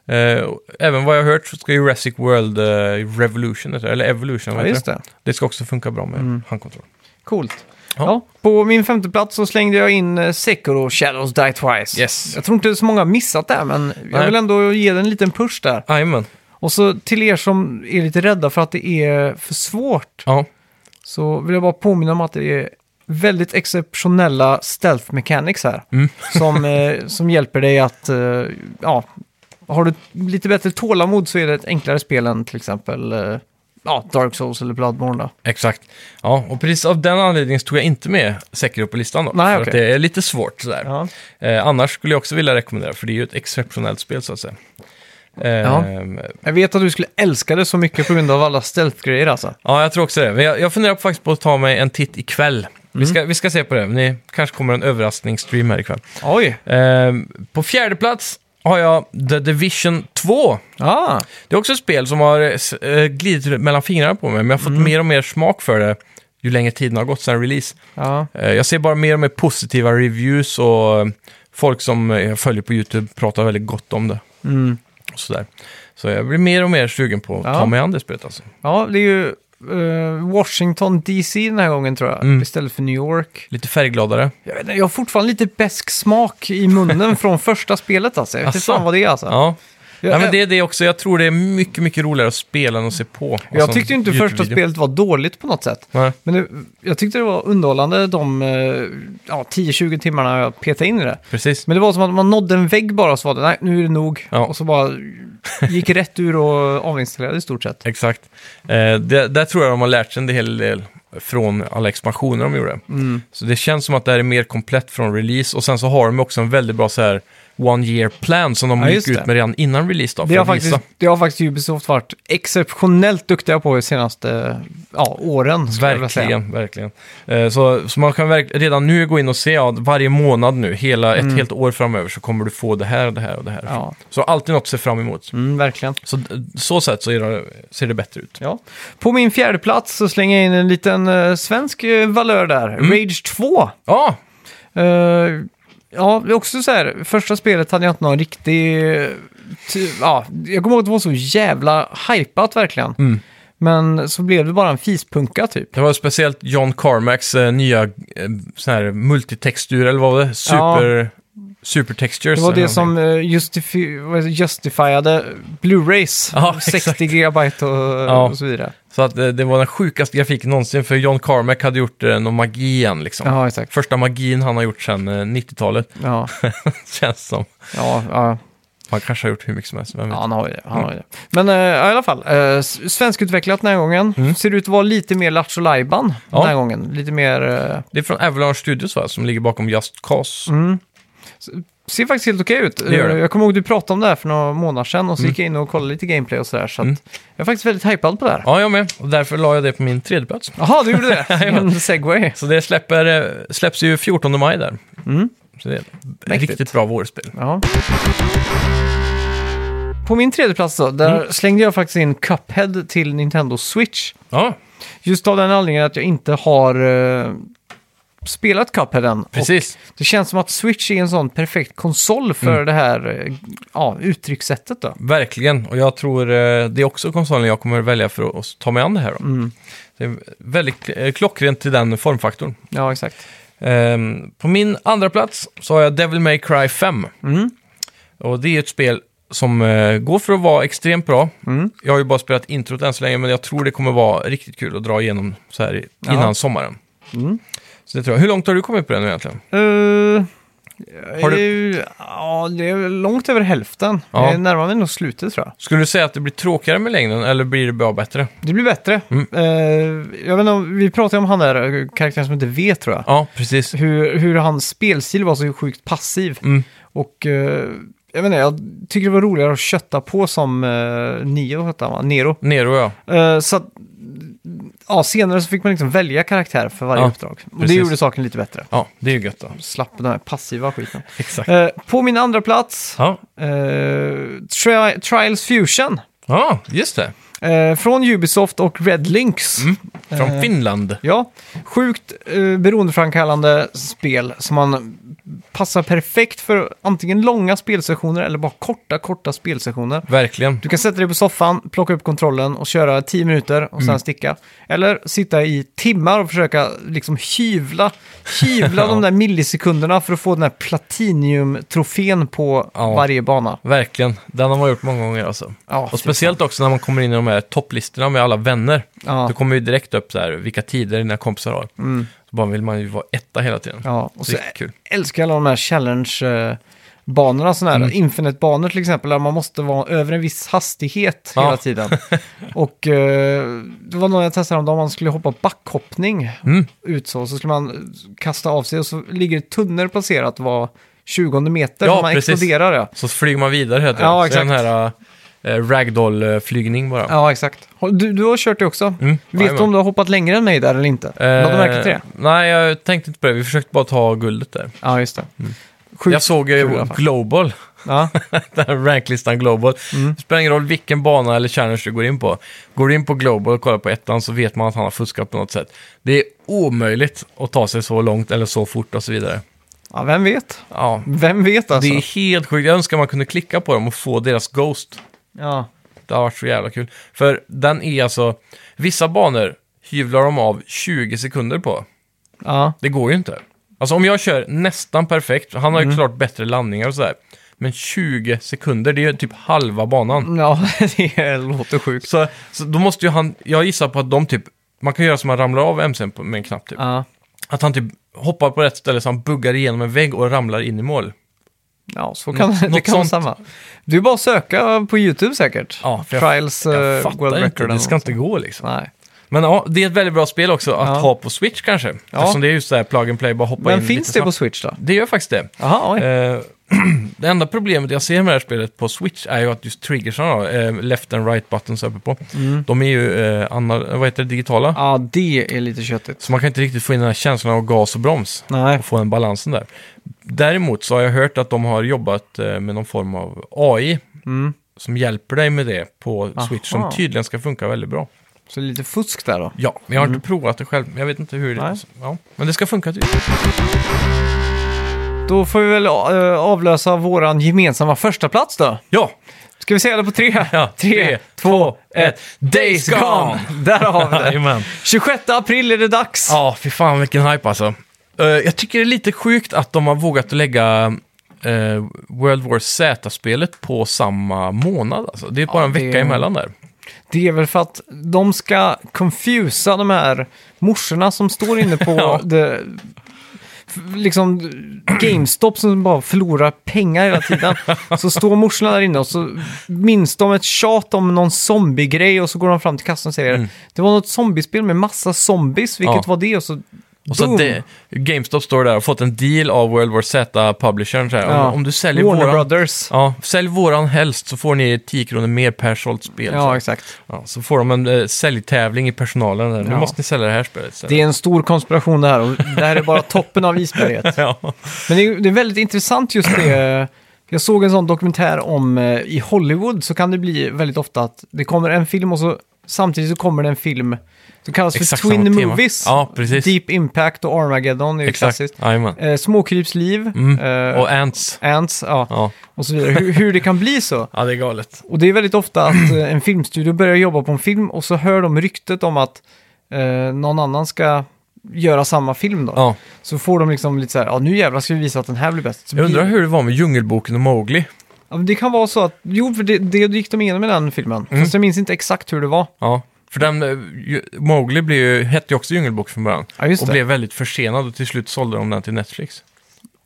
B: Eh, och även vad jag har hört så ska Jurassic World eh, Revolution, heter det, eller Evolution,
A: Ja,
B: vad
A: just Mm.
B: heter
A: det.
B: det? det ska också funka bra med handkontroll.
A: Coolt.
B: Ja.
A: Ja. på min femte plats så slängde jag in eh, Sekiro Shadows Die Twice.
B: Yes.
A: Jag tror inte så många har missat det, här, men jag
B: Nej.
A: vill ändå ge den en liten push där.
B: Jajamän,
A: Och så till er som är lite rädda för att det är för svårt,
B: ja,
A: så vill jag bara påminna om att det är väldigt exceptionella stealth mechanics här. Som, eh, som hjälper dig att, eh, ja, har du lite bättre tålamod så är det ett enklare spel än till exempel eh, ja, Dark Souls eller Bloodborne då.
B: exakt. Ja, och precis av den anledningen så tog jag inte med Sekiro på listan då.
A: Nej,
B: för
A: okej.
B: att det är lite svårt sådär.
A: Ja.
B: Eh, annars skulle jag också vilja rekommendera, för det är ju ett exceptionellt spel så att säga. Eh,
A: Ja. Jag vet att du skulle älska det så mycket på grund av alla stealth-grejer alltså.
B: Ja, jag tror också det. Men jag, jag funderar faktiskt på att ta mig en titt ikväll. Vi, ska, vi ska se på det. Ni kanske kommer en överraskningsstream här ikväll.
A: Oj!
B: Ehm, på fjärde plats har jag The Division 2.
A: Ah,
B: Det är också ett spel som har eh, s- eh, glidit mellan fingrarna på mig, men jag har fått mer och mer smak för det ju längre tiden har gått sedan release.
A: ja.
B: Eh, jag ser bara mer och mer positiva reviews och eh, folk som eh, jag följer på YouTube pratar väldigt gott om det.
A: Mm.
B: Och sådär. Så jag blir mer och mer sugen på att
A: Ja.
B: ta mig an det spelet alltså.
A: ja, det är ju eh, Washington DC den här gången tror jag,
B: Mm.
A: istället för New York.
B: Lite färggladare.
A: Jag, vet, inte, jag har fortfarande lite besk smak i munnen från första spelet alltså. Jag vet inte
B: Asså?
A: fan vad det är alltså.
B: Ja.
A: Jag,
B: Nej, men det är det också. Jag tror det är mycket, mycket roligare att spela än att se på. alltså,
A: jag tyckte ju inte första
B: YouTube-video.
A: spelet var dåligt på något sätt.
B: Nej.
A: Men det, jag tyckte det var underhållande de eh, ja, 10-20 timmarna jag petade in i det.
B: Precis.
A: Men det var som att man nådde en vägg bara och så var det, nej nu är det nog.
B: Ja.
A: Och så bara gick rätt ur och avinstallerade i stort sett.
B: Exakt. Eh, det, där tror jag de har lärt sig en hel del från alla expansioner de gjorde.
A: Mm.
B: Så det känns som att det här är mer komplett från release. Och sen så har de också en väldigt bra så här one year plan som de
A: Ja,
B: gick
A: just
B: ut
A: det.
B: med redan innan release. Då,
A: Det
B: för
A: har,
B: att visa.
A: faktiskt, det har faktiskt Ubisoft varit exceptionellt duktiga på de senaste eh, ja, åren. skulle jag vilja säga.
B: Verkligen, verkligen. Eh, Så, så man kan verk- redan nu gå in och se, ja, varje månad nu, hela ett helt år framöver så kommer du få det här, det här och det här.
A: Mm. Ja.
B: Så alltid något att se fram emot.
A: Mm, verkligen.
B: Så så sätt så är det, ser det bättre ut.
A: Ja. På min fjärde plats så slänger jag in en liten eh, svensk eh, valör där.
B: Mm.
A: Rage 2.
B: Ja,
A: Eh, ja, det är också så här, första spelet hade jag inte någon
B: Mm.
A: riktig... eh, Ty, ja, jag kommer ihåg att det var så jävla hypat verkligen. Men så blev det bara en fispunka typ.
B: Det var speciellt John Carmacks eh, nya eh, sån här multitextur, eller vad var det? Super, Supertextures.
A: Det var
B: eller
A: det
B: någonting.
A: som eh, justifi- vad heter det, justifierade Blu-rays.
B: Ja, exakt.
A: 60 gigabyte och, och så vidare.
B: Så att eh, det var den sjukaste grafiken någonsin, för John Carmack hade gjort eh, någon magi igen liksom.
A: Ja, exakt.
B: Första magin han har gjort sedan eh, 90-talet,
A: Ja,
B: känns som.
A: ja, ja,
B: Han kanske har gjort hur mycket som helst, vem vet.
A: ja han har ju det. Han har
B: Mm.
A: ju det. Men eh, ja, i alla fall, eh, s- svenskutvecklat den här gången. Ser ut att vara lite mer Lattjo Lajban den
B: Mm. Ja.
A: här gången. Lite mer... Eh,
B: Det är från Avalanche Studios va, som ligger bakom Just Cause.
A: Mm. ser faktiskt helt okej ut.
B: gör det. Mm.
A: Eh, Jag kommer ihåg du pratade om det här för några månader sedan och så gick jag in och kollade lite gameplay och sådär. Så att jag är faktiskt väldigt hypad på det här.
B: Ja, jag med. Och därför la jag det på min tredje plats.
A: Jaha, du gjorde det? en segway.
B: Så det släpper, eh, släpps ju 14 maj där. Så det är ett
A: Mm. Mäktigt.
B: riktigt bra vårspel.
A: Ja. På min tredje plats då, där
B: Mm.
A: slängde jag faktiskt in Cuphead till Nintendo Switch.
B: Ja,
A: Just av den anledningen att jag inte har eh, spelat Cuphead än.
B: precis.
A: Och det känns som att Switch är en sån perfekt konsol för
B: Mm.
A: det här eh, ja, uttryckssättet då.
B: Verkligen, och jag tror eh, det är också konsolen jag kommer välja för att ta mig an det här. Då.
A: Mm.
B: Det är väldigt eh, klockrent till den formfaktorn.
A: Ja, exakt.
B: Ehm, på min andra plats så har jag Devil May Cry 5.
A: Mm.
B: Och det är ett spel som eh, går för att vara extremt bra. Jag har ju bara spelat introt än så länge, men jag tror det kommer vara riktigt kul att dra igenom så här i- innan
A: Ja. Mm.
B: sommaren. Så det tror jag. Hur långt har du kommit på den nu egentligen?
A: Eh,
B: Har du-
A: det är ju- Ja, det är långt över hälften.
B: Ja.
A: Jag närmar mig nog slutet tror jag.
B: Skulle du säga att det blir tråkigare med längden, eller blir det bara bättre?
A: Det blir bättre.
B: Mm.
A: Eh, jag vet inte, om- vi pratade om han där eh, karaktären som inte vet tror jag.
B: Ja, precis.
A: hur, hur hans spelstil var så sjukt passiv.
B: Mm.
A: Och eh, jag vet inte, jag tycker det var roligare att kötta på som eh, Neo, hette han va? Nero.
B: Nero, ja.
A: Eh, så att, ja, senare så fick man liksom välja karaktär för varje
B: Ja,
A: uppdrag. Och det
B: precis.
A: gjorde saken lite bättre.
B: Ja, det är ju gött då.
A: Slapp den här passiva skiten.
B: Exakt.
A: Eh, på min andra plats,
B: Ja,
A: eh, Tri- Trials Fusion.
B: ja just det.
A: eh, från Ubisoft och Red Links.
B: Mm. Från
A: Eh,
B: Finland.
A: Ja, sjukt eh, beroendeframkallande spel som man passar perfekt för antingen långa spelsessioner eller bara korta, korta spelsessioner.
B: Verkligen.
A: Du kan sätta dig på soffan, plocka upp kontrollen och köra 10 minuter och sen
B: Mm.
A: sticka. Eller sitta i timmar och försöka liksom hyvla, hyvla de där millisekunderna för att få den här platiniumtrofén på
B: Ja.
A: varje bana.
B: Verkligen. Den har man gjort många gånger alltså.
A: Ja,
B: Och speciellt också när man kommer in i de här topplistorna med alla vänner.
A: Ja. Mm.
B: Då kommer ju direkt upp så här, vilka tider dina kompisar har. Så bara vill man ju vara etta hela tiden.
A: Ja, och så
B: Riktigt kul.
A: älskar alla de här challenge-banorna, sådana här
B: Mm.
A: infinite-banor till exempel, där man måste vara över en viss hastighet
B: Ja.
A: hela tiden. och eh, det var någon jag testade om man skulle hoppa backhoppning
B: Mm.
A: ut så, så skulle man kasta av sig och så ligger ett tunnel placerat var 20 meter,
B: Ja,
A: och man
B: precis.
A: exploderar ja.
B: Så flyger man vidare hela tiden.
A: Ja,
B: Så
A: exakt.
B: är den här eh, ragdoll-flygning bara. Mm.
A: Ja, exakt. Har- Du, du har kört det också. Vet
B: jajamän.
A: du om du har hoppat längre än mig där eller inte?
B: Eh,
A: Lade du märke till det?
B: Nej, jag tänkte inte på det. Vi försökte bara ta guldet där.
A: Ja, just det.
B: mm.
A: Sjukt
B: jag såg
A: kul i
B: ju
A: alla fall.
B: Global,
A: Ja,
B: den här ranklistan Global.
A: Mm.
B: Det spelar ingen roll vilken bana eller challenge du går in på. Går du in på Global och kollar på ettan så vet man att han har fuskat på något sätt. Det är omöjligt att ta sig så långt eller så fort och så vidare.
A: ja vem vet?
B: Ja,
A: Vem vet alltså?
B: Det är helt sjukt. Jag önskar man kunde klicka på dem och få deras Ghost.
A: Ja.
B: Det har varit så jävla kul. För den är alltså... Vissa banor hyvlar de av 20 sekunder på.
A: Ja.
B: Det går ju inte. Alltså om jag kör nästan perfekt, han har
A: Mm.
B: ju klart bättre landningar och sådär. Men 20 sekunder, det är ju typ halva banan.
A: Ja, det låter sjukt.
B: Så, så då måste ju han... Jag gissar på att de typ... Man kan göra så att man ramlar av MCn på- med en knapp typ.
A: Ja,
B: Att han typ hoppar på rätt ställe så han buggar igenom en vägg och ramlar in i mål.
A: ja så kan
B: Något-
A: det
B: något
A: kan vara
B: sånt.
A: samma. Du är bara att söka på YouTube säkert.
B: Ja, för jag-
A: Trials eh,
B: Jag
A: World
B: fattar
A: Record.
B: inte,
A: eller
B: det ska
A: något.
B: inte gå liksom.
A: Nej.
B: Men ja, det är ett väldigt bra spel också att
A: Ja.
B: ha på Switch kanske.
A: Ja.
B: Eftersom det är just det här plug and play, bara hoppa
A: Men
B: in
A: finns
B: lite
A: det på
B: snabbt.
A: Switch då?
B: Det gör faktiskt det.
A: Jaha, oj.
B: Eh, det enda problemet jag ser med det här spelet på Switch är ju att just triggersarna, då, eh, left and right buttons uppe på, de är ju eh, anal- vad heter det, digitala.
A: Mm. Ja, det är lite köttigt.
B: Så man kan inte riktigt få in den här känslan av gas och broms
A: Nej.
B: och få den balansen där. Däremot så har jag hört att de har jobbat eh, med någon form av AI som hjälper dig med det på Switch som
A: Mm. Aha.
B: tydligen ska funka väldigt bra.
A: Så lite fusk där då.
B: Ja, men jag har inte provat det själv. men Jag vet inte hur det
A: Mm. Nej.
B: är. Ja. Men det ska funka typ. tydligen.
A: Då får vi väl eh, avlösa våran gemensamma första plats då.
B: Ja,
A: Ska vi säga det på tre?
B: Ja, tre,
A: tre, två, ett.
B: Days Gone!
A: Där har vi det.
B: Jajamän.
A: 26 april är det dags.
B: Ja, fy fan vilken hype alltså. Eh, jag tycker det är lite sjukt att de har vågat att lägga eh, World War Z-spelet på samma månad. Alltså. Det är bara en
A: det
B: vecka
A: är-
B: emellan där.
A: Det är väl för att de ska confusa de här morsorna som står inne på
B: Ja.
A: det, f- liksom GameStop som bara förlorar pengar hela tiden. Så står morsorna där inne och så minns de ett tjat om någon zombiegrej och så går de fram till kassan och säger det var något zombiespel med massa zombies, vilket
B: Mm. Ja.
A: var det? Och så,
B: Och så
A: boom!
B: att det, GameStop står där och fått en deal av World War Z-publishern. Så här,
A: Ja.
B: om, om du säljer
A: Warner
B: våran,
A: Brothers.
B: ja, sälj våran helst så får ni 10 kronor mer per sålt spel.
A: Ja, exakt.
B: Ja, så får de en eh, säljtävling i personalen. Där. Nu
A: Ja.
B: måste ni sälja det här spelet. istället.
A: Det är en stor konspiration det här och det här är bara toppen av isberget.
B: Ja.
A: Men det är, det är väldigt intressant just det. Jag såg en sån dokumentär om eh, i Hollywood så kan det bli väldigt ofta att det kommer en film och så samtidigt så kommer det en film som kallas
B: Exakt
A: för
B: samma
A: Twin
B: tema.
A: Movies.
B: Ja, precis.
A: Deep Impact och Armageddon är ju klassiskt.
B: Exakt. Jajamän.
A: Eh, Småkryps liv, eh,
B: Och Ants.
A: Ants, ja,
B: Ja.
A: och så vidare. Hur, hur det kan bli så.
B: ja, det är galet.
A: Och det är väldigt ofta att eh, en filmstudio börjar jobba på en film och så hör de ryktet om att eh, någon annan ska göra samma film då.
B: Ja.
A: Så får de liksom lite så här, ja nu jävlar ska vi visa att den här blir bäst. Så
B: Jag undrar
A: blir-
B: hur det var med Djungelboken och Mowgli.
A: Ja, men det kan vara så att, jo för det, det gick de igenom i den filmen.
B: Mm.
A: Fast jag minns inte exakt hur det var.
B: Ja, för den, eh, ju- Mowgli blev ju, hette ju också Djungelbok från början.
A: Ja, just
B: och
A: det.
B: blev väldigt försenad och till slut sålde de den till Netflix.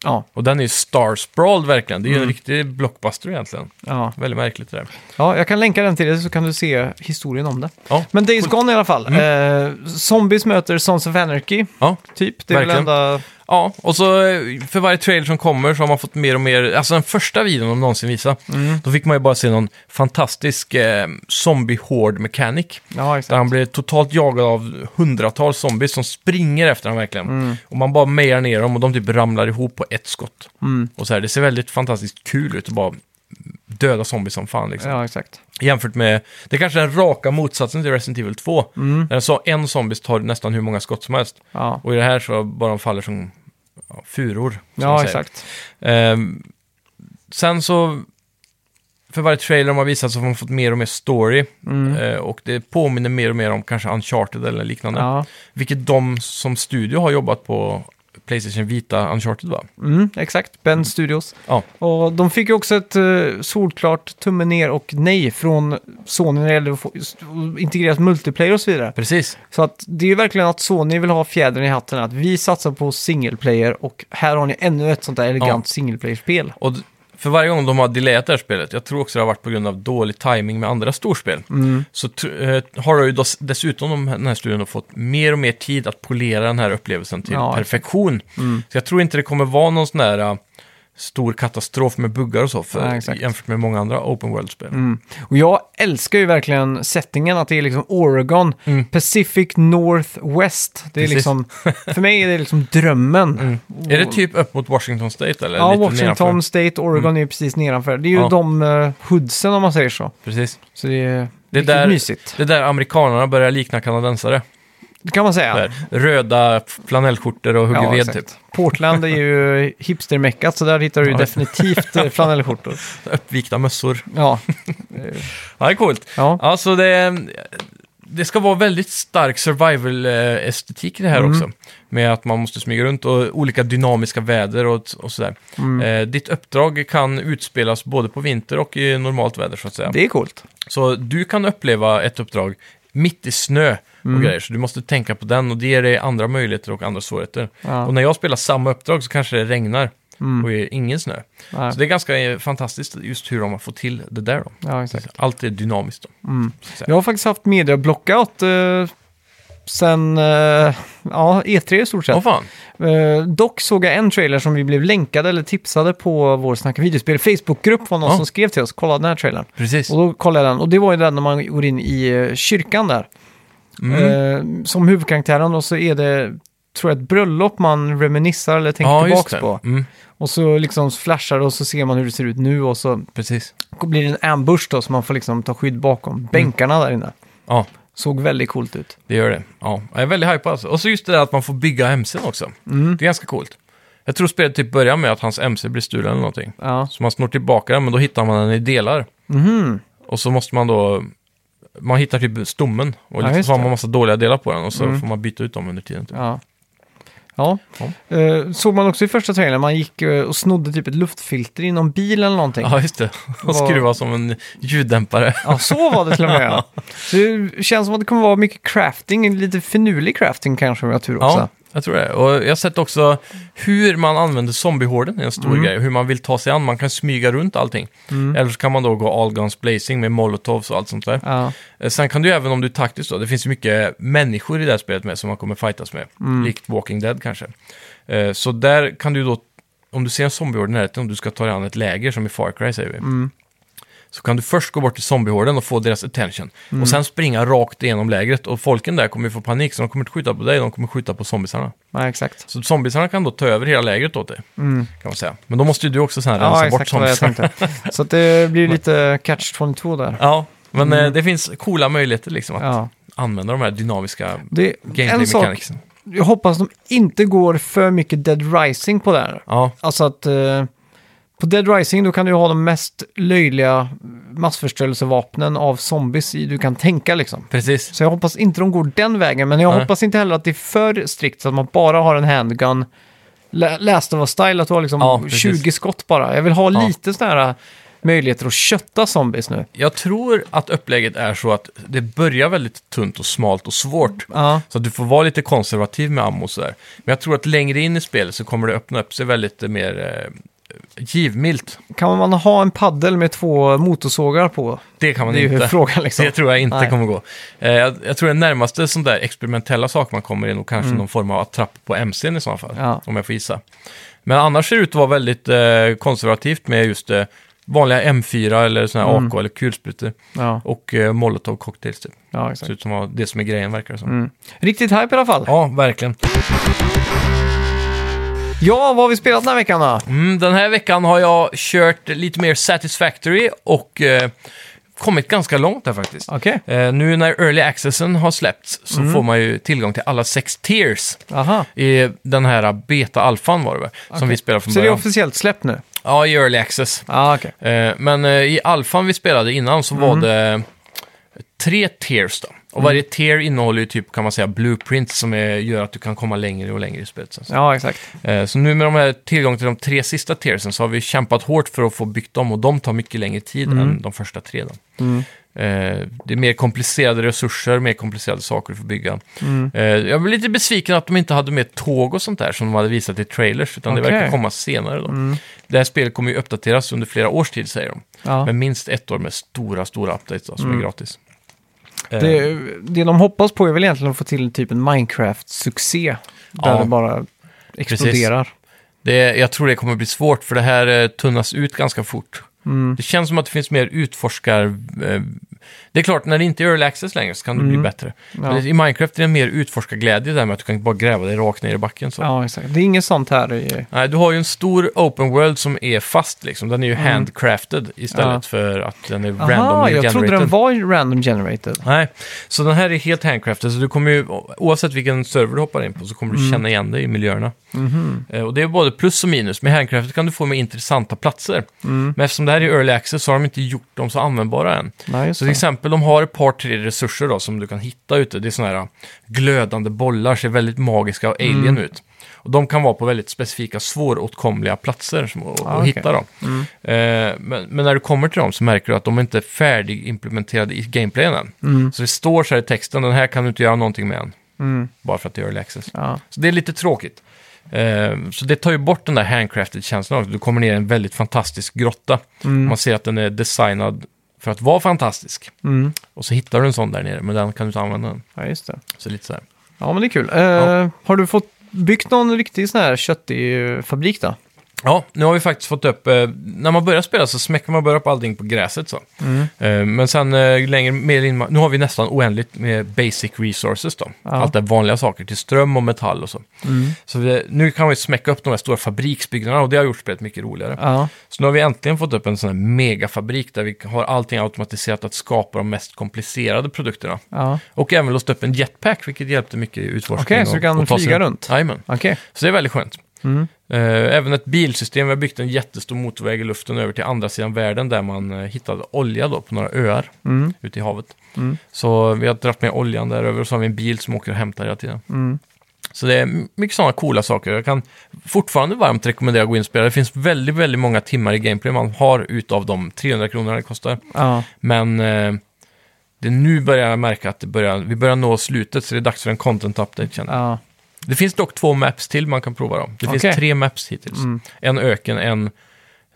A: Ja,
B: Och den är ju Star Sprawled verkligen. Det är ju en riktig blockbuster egentligen.
A: ja.
B: Väldigt märkligt det där.
A: ja, jag kan länka den till dig så kan du se historien om det.
B: Ja, Mm.
A: Men Days Gone i alla fall. Eh, zombies möter Sons of Anarchy,
B: ja.
A: typ. Det är väl
B: Verkligen.
A: enda...
B: ja. och så eh, för varje trailer som kommer så har man fått mer och mer, alltså den första videon de någonsin visade, då fick man ju bara se någon fantastisk eh, zombie horde mechanic.
A: Ja,
B: Där
A: exakt.
B: han blir totalt jagad av hundratals zombies som springer efter honom verkligen. Och man bara mejar ner dem och de typ ramlar ihop på ett skott.
A: Mm.
B: Och så här, det ser väldigt fantastiskt kul ut att bara döda zombies som fan liksom.
A: Ja, exakt.
B: Jämfört med, det är kanske är den raka motsatsen till Resident Evil 2. Där jag sa en zombie tar nästan hur många skott som helst.
A: Mm. Ja,
B: Och i det här så bara de faller som ja, furor. Som man
A: ja
B: säger.
A: exakt.
B: Ehm, sen så, för varje trailer de har visat så har man fått mer och mer story.
A: Mm.
B: Eh, och det påminner mer och mer om kanske Uncharted eller liknande.
A: Ja.
B: Vilket de som studio har jobbat på Playstation Vita Uncharted va?
A: Mm, exakt. Ben Studios.
B: Ja,
A: Och de fick ju också ett eh, solklart tumme ner och nej från Sony när det gällde att få- integrerat multiplayer och så vidare.
B: precis.
A: Så att det är ju verkligen att Sony vill ha fjädern i hatten att vi satsar på single player och här har ni ännu ett sånt där elegant single player-spel.
B: Och d- för varje gång de har delayat det här spelet, jag tror också det har varit på grund av dålig timing med andra storspel,
A: Mm.
B: så tr- eh, har ju dos- dessutom de- den här studion fått mer och mer tid att polera den här upplevelsen till
A: Ja. Mm.
B: perfektion. Så jag tror inte det kommer vara någon sån här eh, stor katastrof med buggar och så, för,
A: Nej, exakt. Mm.
B: jämfört med många andra open world-spel.
A: Och jag älskar ju verkligen settingen att det är liksom Oregon, Pacific Northwest. Det är
B: Mm. Precis.
A: liksom, för mig är det liksom drömmen. Och-
B: Är det typ upp mot Washington State eller?
A: Ja,
B: lite
A: Washington
B: nedanför? Mm.
A: State, Oregon är ju precis nedanför. Det är ju
B: Ja.
A: de uh, hoodsen om man säger så.
B: Precis.
A: Så det är,
B: Det är,
A: riktigt
B: där,
A: mysigt.
B: det är där amerikanerna börjar likna kanadensare.
A: Det kan man säga.
B: Där. Röda flanellskjortor och hugger
A: Ja,
B: ved
A: exakt.
B: typ.
A: Portland är ju hipstermeckat så där hittar du ju
B: Ja.
A: definitivt eh, flanellskjortor.
B: Uppvikta mössor.
A: Ja,
B: Ja, det är coolt.
A: ja.
B: Alltså det, det ska vara väldigt stark survival-estetik i det här
A: Mm.
B: också. Med att man måste smyga runt och olika dynamiska väder och, och sådär.
A: Mm.
B: Eh, ditt uppdrag kan utspelas både på vinter och i normalt väder så att säga.
A: det är coolt.
B: Så du kan uppleva ett uppdrag mitt i snö och
A: Mm.
B: grejer. Så du måste tänka på den och det ger dig andra möjligheter och andra svårigheter.
A: Ja. Mm.
B: Och när jag spelar samma uppdrag så kanske det regnar och är ingen snö.
A: Nej.
B: Så det är ganska eh, fantastiskt just hur de har fått till det där då.
A: Ja, exakt. Mm.
B: Allt är dynamiskt då. Så att säga.
A: Jag har faktiskt haft media blockout eh, sen eh, ja, E3 i stort
B: Åh
A: sett.
B: fan.
A: Eh, dock såg jag en trailer som vi blev länkade eller tipsade på vår Snacka videospel Facebookgrupp var någon
B: Ja.
A: som skrev till oss, kolla den här trailern.
B: Precis.
A: Och då kollade jag den och det var ju den när man går in i eh, kyrkan där.
B: Mm.
A: Eh, som huvudkaraktären och så är det, tror jag, ett bröllop man reminissar eller tänker tillbaka på.
B: Mm,
A: Och så liksom flashar det och så ser man hur det ser ut nu och så
B: precis.
A: blir det en ambush då så man får liksom ta skydd bakom
B: Mm.
A: bänkarna där inne.
B: Ja,
A: Såg väldigt coolt ut. Mm.
B: det gör det. Ja, jag är väldigt hypad alltså. Och så just det där att man får bygga hemsidan också. Det är ganska coolt. Jag tror spelet typ börjar med att hans MC blir stulen eller någonting.
A: Ja.
B: Så man snor tillbaka den, men då hittar man den i delar.
A: Mhm.
B: Och så måste man då... Man hittar typ stommen och
A: Ja,
B: liksom
A: just
B: så har
A: det.
B: man massa dåliga delar på den och så
A: Mm.
B: får man byta ut dem under tiden. Typ.
A: Ja. Ja.
B: Ja.
A: Eh, såg man också i första trailern, man gick eh, och snodde typ ett luftfilter i någon bil eller någonting.
B: Ja, just det. Och
A: Vad-
B: skruva som en ljuddämpare.
A: Ja, så var det till och med. ja. Så det känns som att det kommer vara mycket crafting, lite finurlig crafting kanske om jag har tur också.
B: Ja, jag tror det. Och jag har sett också hur man använder zombiehorden är en stor grej. Hur man vill ta sig an. Man kan smyga runt allting.
A: Mm.
B: Eller så kan man då gå all guns blazing med molotovs och allt sånt där.
A: Ja.
B: Eh, Sen kan du ju även om du är taktisk då, det finns ju mycket människor i det här spelet med som man kommer fightas med.
A: Mm.
B: Likt Walking Dead kanske. Eh, Så där kan du då, om du ser en zombiehord i närheten, om du ska ta dig an ett läger som i Far Cry säger vi.
A: Mm.
B: Så kan du först gå bort till zombiehorden och få deras attention. Och sen springa rakt igenom lägret. Och folken där kommer ju få panik, så de kommer inte skjuta på dig, de kommer skjuta på zombisarna.
A: ja, exakt. Mm.
B: Så zombiesarna kan då ta över hela lägret åt dig. Kan man säga. Men då måste ju du också sen rensa
A: Ja,
B: bort
A: exakt vad jag
B: zombiesarna.
A: tänkte. Så att det blir lite catch 22 där.
B: Ja, men eh, det finns coola möjligheter liksom att
A: Mm. Ja.
B: använda de här dynamiska
A: Det är
B: gameplay
A: en sak,
B: mechanicsen.
A: jag hoppas de inte går för mycket Dead Rising på det här.
B: Ja,
A: Alltså att eh, på Dead Rising då kan du ha de mest löjliga massförstörelsevapnen av zombies i- du kan tänka liksom.
B: precis.
A: Så jag hoppas inte de går den vägen, men jag
B: Nej.
A: hoppas inte heller att det är för strikt så att man bara har en handgun. Lä- Last of Us-style, att du har liksom
B: Ja, precis.
A: 20 skott bara. Jag vill ha
B: Ja.
A: lite sådana här eh, möjligheter att kötta zombies nu.
B: Jag tror att upplägget är så att det börjar väldigt tunt och smalt och svårt.
A: Ja,
B: Så att du får vara lite konservativ med ammo och sådär. Men jag tror att längre in i spelet så kommer det öppna upp sig väldigt eh, mer eh, givmilt.
A: kan man ha en paddel med två motorsågar på?
B: Det kan man
A: det är ju
B: inte.
A: frågan liksom.
B: Det tror jag inte
A: Nej.
B: kommer gå. Eh, jag, jag tror den närmaste sån där experimentella sak man kommer är nog kanske någon form av attrapp på MCn i så fall.
A: Mm. Ja.
B: Om jag får gissa. Men annars ser det ut att vara väldigt eh, konservativt med just eh, vanliga M4 eller såna
A: Mm.
B: här AK eller kulsprutor.
A: Ja,
B: Och eh, molotov cocktails typ.
A: ja,
B: Ser
A: exakt.
B: ut som var det som är grejen verkar det som.
A: Mm. Riktigt hype i alla fall.
B: Ja, verkligen.
A: Ja, vad har vi spelat den här veckan då?
B: Mm, den här veckan har jag kört lite mer Satisfactory och eh, kommit ganska långt där faktiskt.
A: Okej.
B: Eh, nu när Early Accessen har släppts så
A: Mm.
B: får man ju tillgång till alla sex tiers
A: Aha.
B: i den här beta-alfan var det väl, som
A: Okej.
B: vi spelade från
A: Så det är
B: början.
A: officiellt släppt nu?
B: Ja, i Early Access.
A: Ja, okej.
B: Eh, men eh, i alfan vi spelade innan så
A: Mm.
B: var det tre tiers då. Och varje tier innehåller ju typ, kan man säga, blueprints som är, gör att du kan komma längre och längre i spelet. sen.
A: Ja, exakt.
B: Eh, Så nu med de här tillgång till de tre sista tiersen så har vi kämpat hårt för att få byggt dem och de tar mycket längre tid
A: Mm.
B: än de första tre. Då. Eh, Det är mer komplicerade resurser, mer komplicerade saker att få bygga.
A: Mm.
B: Eh, Jag blev lite besviken att de inte hade med tåg och sånt där som de hade visat i trailers, utan det
A: Okej. Mm.
B: verkar komma senare. Då. Det här spelet kommer ju uppdateras under flera års tid, säger de.
A: Ja. Mm.
B: Men minst ett år med stora, stora updates då, som är gratis. Eh,
A: Det, det de hoppas på är väl egentligen att få till typ en Minecraft-succé. Där
B: Ja.
A: det bara exploderar.
B: Det, jag tror det kommer bli svårt för det här eh, tunnas ut ganska fort.
A: Mm.
B: Det känns som att det finns mer utforskar... Eh, det är klart, när det inte är early access längre så kan det
A: Mm.
B: bli bättre. Men I Minecraft är det mer utforskarglädje där med att du kan bara gräva dig rakt ner i backen. Så.
A: Ja, exakt. Det är inget sånt här i...
B: Nej, du har ju en stor open world som är fast liksom. Den är ju handcrafted istället
A: Mm. Ja.
B: för att den är
A: Aha,
B: randomly
A: jag trodde
B: generated.
A: den var ju random generated.
B: Nej, så den här är helt handcrafted. Så du kommer ju, oavsett vilken server du hoppar in på så kommer
A: Mm.
B: du känna igen dig i miljöerna.
A: Mhm.
B: Eh, Och det är både plus och minus. Med handcrafted kan du få med intressanta platser.
A: Mm.
B: Men eftersom det här är early access så har de inte gjort dem så användbara än.
A: Nej, just
B: Så till
A: det.
B: exempel de har ett par tre resurser då, som du kan hitta ute. Det är sådana här äh, glödande bollar, ser väldigt magiska och alien
A: Mm.
B: ut. Och de kan vara på väldigt specifika svåråtkomliga platser som, och,
A: Ah,
B: och
A: okej.
B: hitta dem. Eh, men, men när du kommer till dem så märker du att de inte är färdigimplementerade i gameplayen än.
A: Mm.
B: Så det står så här i texten, den här kan du inte göra någonting med än. Bara för att det är early access.
A: Ja.
B: Så det är lite tråkigt. Eh, Så det tar ju bort den där handcrafted-känslan också. Du kommer ner i en väldigt fantastisk grotta.
A: Mm.
B: Man ser att den är designad för att vara fantastisk.
A: Mm.
B: Och så hittar du en sån där nere, men den kan du inte använda den.
A: ja, just det.
B: Så lite så här.
A: Ja, men det är kul. Eh,
B: Ja.
A: Har du fått byggt någon riktig sån här köttig eh, fabrik då?
B: Ja, nu har vi faktiskt fått upp... eh, När man börjar spela så smäcker man bara upp allting på gräset så.
A: Mm.
B: Eh, Men sen eh, längre mer in... Nu har vi nästan oändligt med basic resources då. Allt det vanliga saker till ström och metall och så. Så vi, nu kan vi smäcka upp de här stora fabriksbyggnaderna och det har gjort spelet mycket roligare.
A: Ja,
B: Så nu har vi äntligen fått upp en sån här megafabrik där vi har allting automatiserat att skapa de mest komplicerade produkterna.
A: ja.
B: Och även låst upp en jetpack, vilket hjälpte mycket i utforskningen.
A: Okej, så du
B: och-
A: kan
B: och ta sig
A: flyga runt?
B: Jajamän.
A: okej.
B: Så det är väldigt skönt.
A: Mm.
B: Eh, Även ett bilsystem, vi har byggt en jättestor motorväg i luften över till andra sidan världen där man eh, hittade olja då på några öar
A: Mm.
B: ute i havet.
A: Mm.
B: Så vi har dragit med oljan där över och så har vi en bil som åker och hämtar hela tiden.
A: Mm.
B: Så det är mycket sådana coola saker. Jag kan fortfarande varmt rekommendera att gå in och spela. Det finns väldigt, väldigt många timmar i gameplay man har utav de 300 kronorna det kostar.
A: Ja.
B: Men eh, det är nu börjar jag märka att det börjar, vi börjar nå slutet så det är dags för en content update känner jag.
A: Ja.
B: Det finns dock två maps till man kan prova dem.
A: Okej.
B: Det
A: Mm.
B: finns tre maps hittills. En öken, en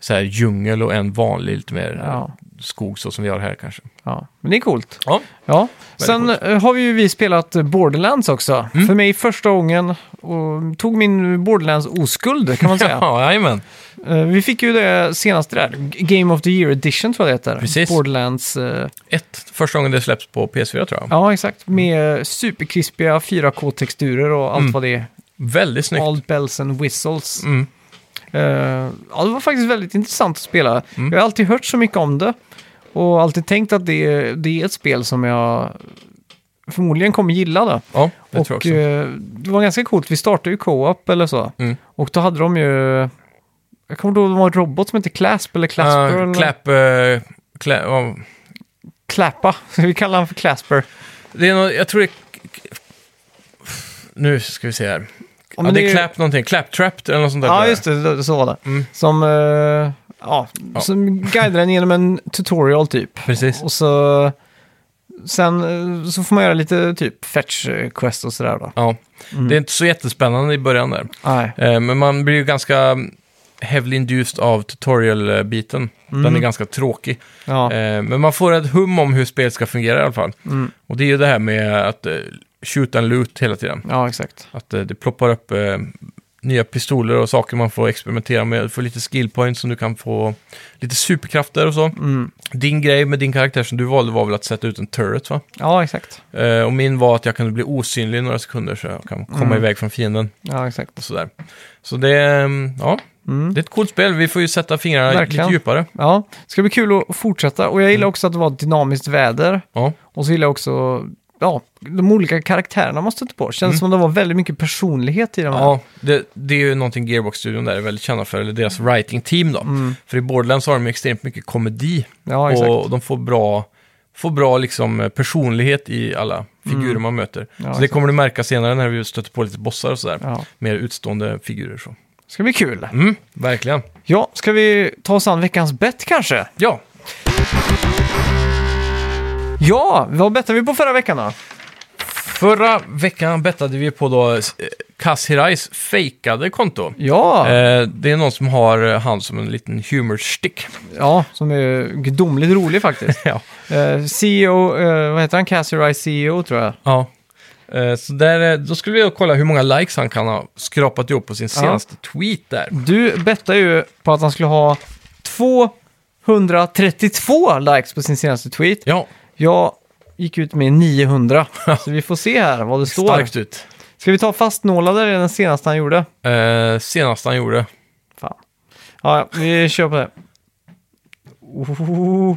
B: så här djungel och en vanlig lite mer
A: Ja.
B: eh, skog så som vi har här kanske.
A: ja. Men det är coolt.
B: Ja,
A: Ja,
B: Väldigt Mm.
A: sen eh, har ju vi spelat eh, Borderlands också. För mig första gången och tog min Borderlands-oskuld kan man säga.
B: ja jajamän.
A: Eh, vi fick ju det senaste där, G- Game of the Year Edition tror jag det heter.
B: Precis.
A: Borderlands, eh,
B: Ett, första gången det släpps på PS4 tror jag.
A: ja exakt, med eh, superkrispiga 4K-texturer och allt
B: Mm.
A: vad det är.
B: Väldigt snyggt.
A: All bells and whistles.
B: Mm.
A: Eh, ja, det var faktiskt väldigt intressant att spela.
B: Mm.
A: Jag har alltid hört så mycket om det. Och alltid tänkt att det är, det är ett spel som jag förmodligen kommer gilla då.
B: Ja, det tror jag
A: och
B: också.
A: eh, det var ganska coolt, vi startade ju co-op eller så.
B: Mm.
A: Och då hade de ju... Jag kommer inte ihåg, det var en robot som hette Clasp eller Clasper.
B: Eh,
A: eller
B: clap, eh, cla- ja,
A: Clappa, vi kallar han för Clasper.
B: det är något, jag tror det är- Nu ska vi se här.
A: Ja,
B: Ja,
A: men
B: det är
A: det är-
B: clap någonting. Claptrapped eller något sånt där. tror
A: Ja,
B: jag.
A: just det, det, så var det.
B: Mm.
A: Som, eh, ja,
B: Ja.
A: som guidar en genom en tutorial typ.
B: Precis.
A: Och så... Sen eh, så får man göra lite typ fetch eh, quest och sådär då.
B: Ja.
A: Mm.
B: Det är inte så jättespännande i början där.
A: Nej.
B: Eh, Men man blir ju ganska heavily induced av tutorial-biten. Den är ganska tråkig.
A: Mm. Ja.
B: Eh, Men man får ett hum om hur spelet ska fungera i alla fall.
A: Mm.
B: Och det är ju det här med att eh, shoot and loot hela tiden.
A: ja, exakt.
B: Att eh, det ploppar upp eh, nya pistoler och saker man får experimentera med. Du får lite skill points som du kan få lite superkrafter och så.
A: Mm.
B: Din grej med din karaktär som du valde var väl att sätta ut en turret va?
A: Ja, exakt.
B: Eh, Och min var att jag kunde bli osynlig i några sekunder så jag kan komma
A: Mm.
B: iväg från fienden
A: Ja, exakt.
B: och sådär. Så det, eh, ja,
A: Mm.
B: det är ett coolt spel. Vi får ju sätta fingrarna
A: Verkligen.
B: lite djupare.
A: Ja, det ska bli kul att fortsätta. Och jag
B: Mm.
A: gillar också att det var dynamiskt väder.
B: Ja,
A: Och så gillar jag också ja, de olika karaktärerna man stötte på. Känns som att det var väldigt mycket personlighet i de här.
B: Mm. ja det, det är ju någonting Gearbox-studion där är väldigt kända för, eller deras writing-team då. För i Borderlands har de ju extremt mycket komedi
A: Mm. ja exakt.
B: och de får bra, får bra liksom eh, personlighet i alla figurer man möter. så det
A: Mm. exakt.
B: kommer du märka senare när vi stöter på lite bossar och sådär.
A: Ja.
B: Mer utstående figurer så.
A: Det ska bli kul.
B: Mm, verkligen.
A: Ja, ska vi ta oss an veckans bett kanske?
B: Ja,
A: Ja, vad bettade vi på förra veckan då?
B: förra veckan bettade vi på då eh, Kaz Hirais fejkade konto.
A: Ja,
B: Eh, Det är någon som har eh, han som en liten humorstick.
A: ja som är gudomligt rolig faktiskt.
B: ja.
A: Eh, CEO, eh, vad heter han? Cassie Rice CEO tror jag.
B: ja. Eh, Så där, eh, då skulle vi då kolla hur många likes han kan ha skrapat ihop på sin senaste tweet där.
A: Du bettade ju på att han skulle ha 232 likes på sin senaste tweet.
B: Ja,
A: Jag gick ut med 900, så vi får se här vad det står.
B: starkt ut.
A: Ska vi ta fastnålade? Det är den senaste han gjorde.
B: Eh, senaste han gjorde.
A: Fan. Ja, ja, vi kör på det. Oh.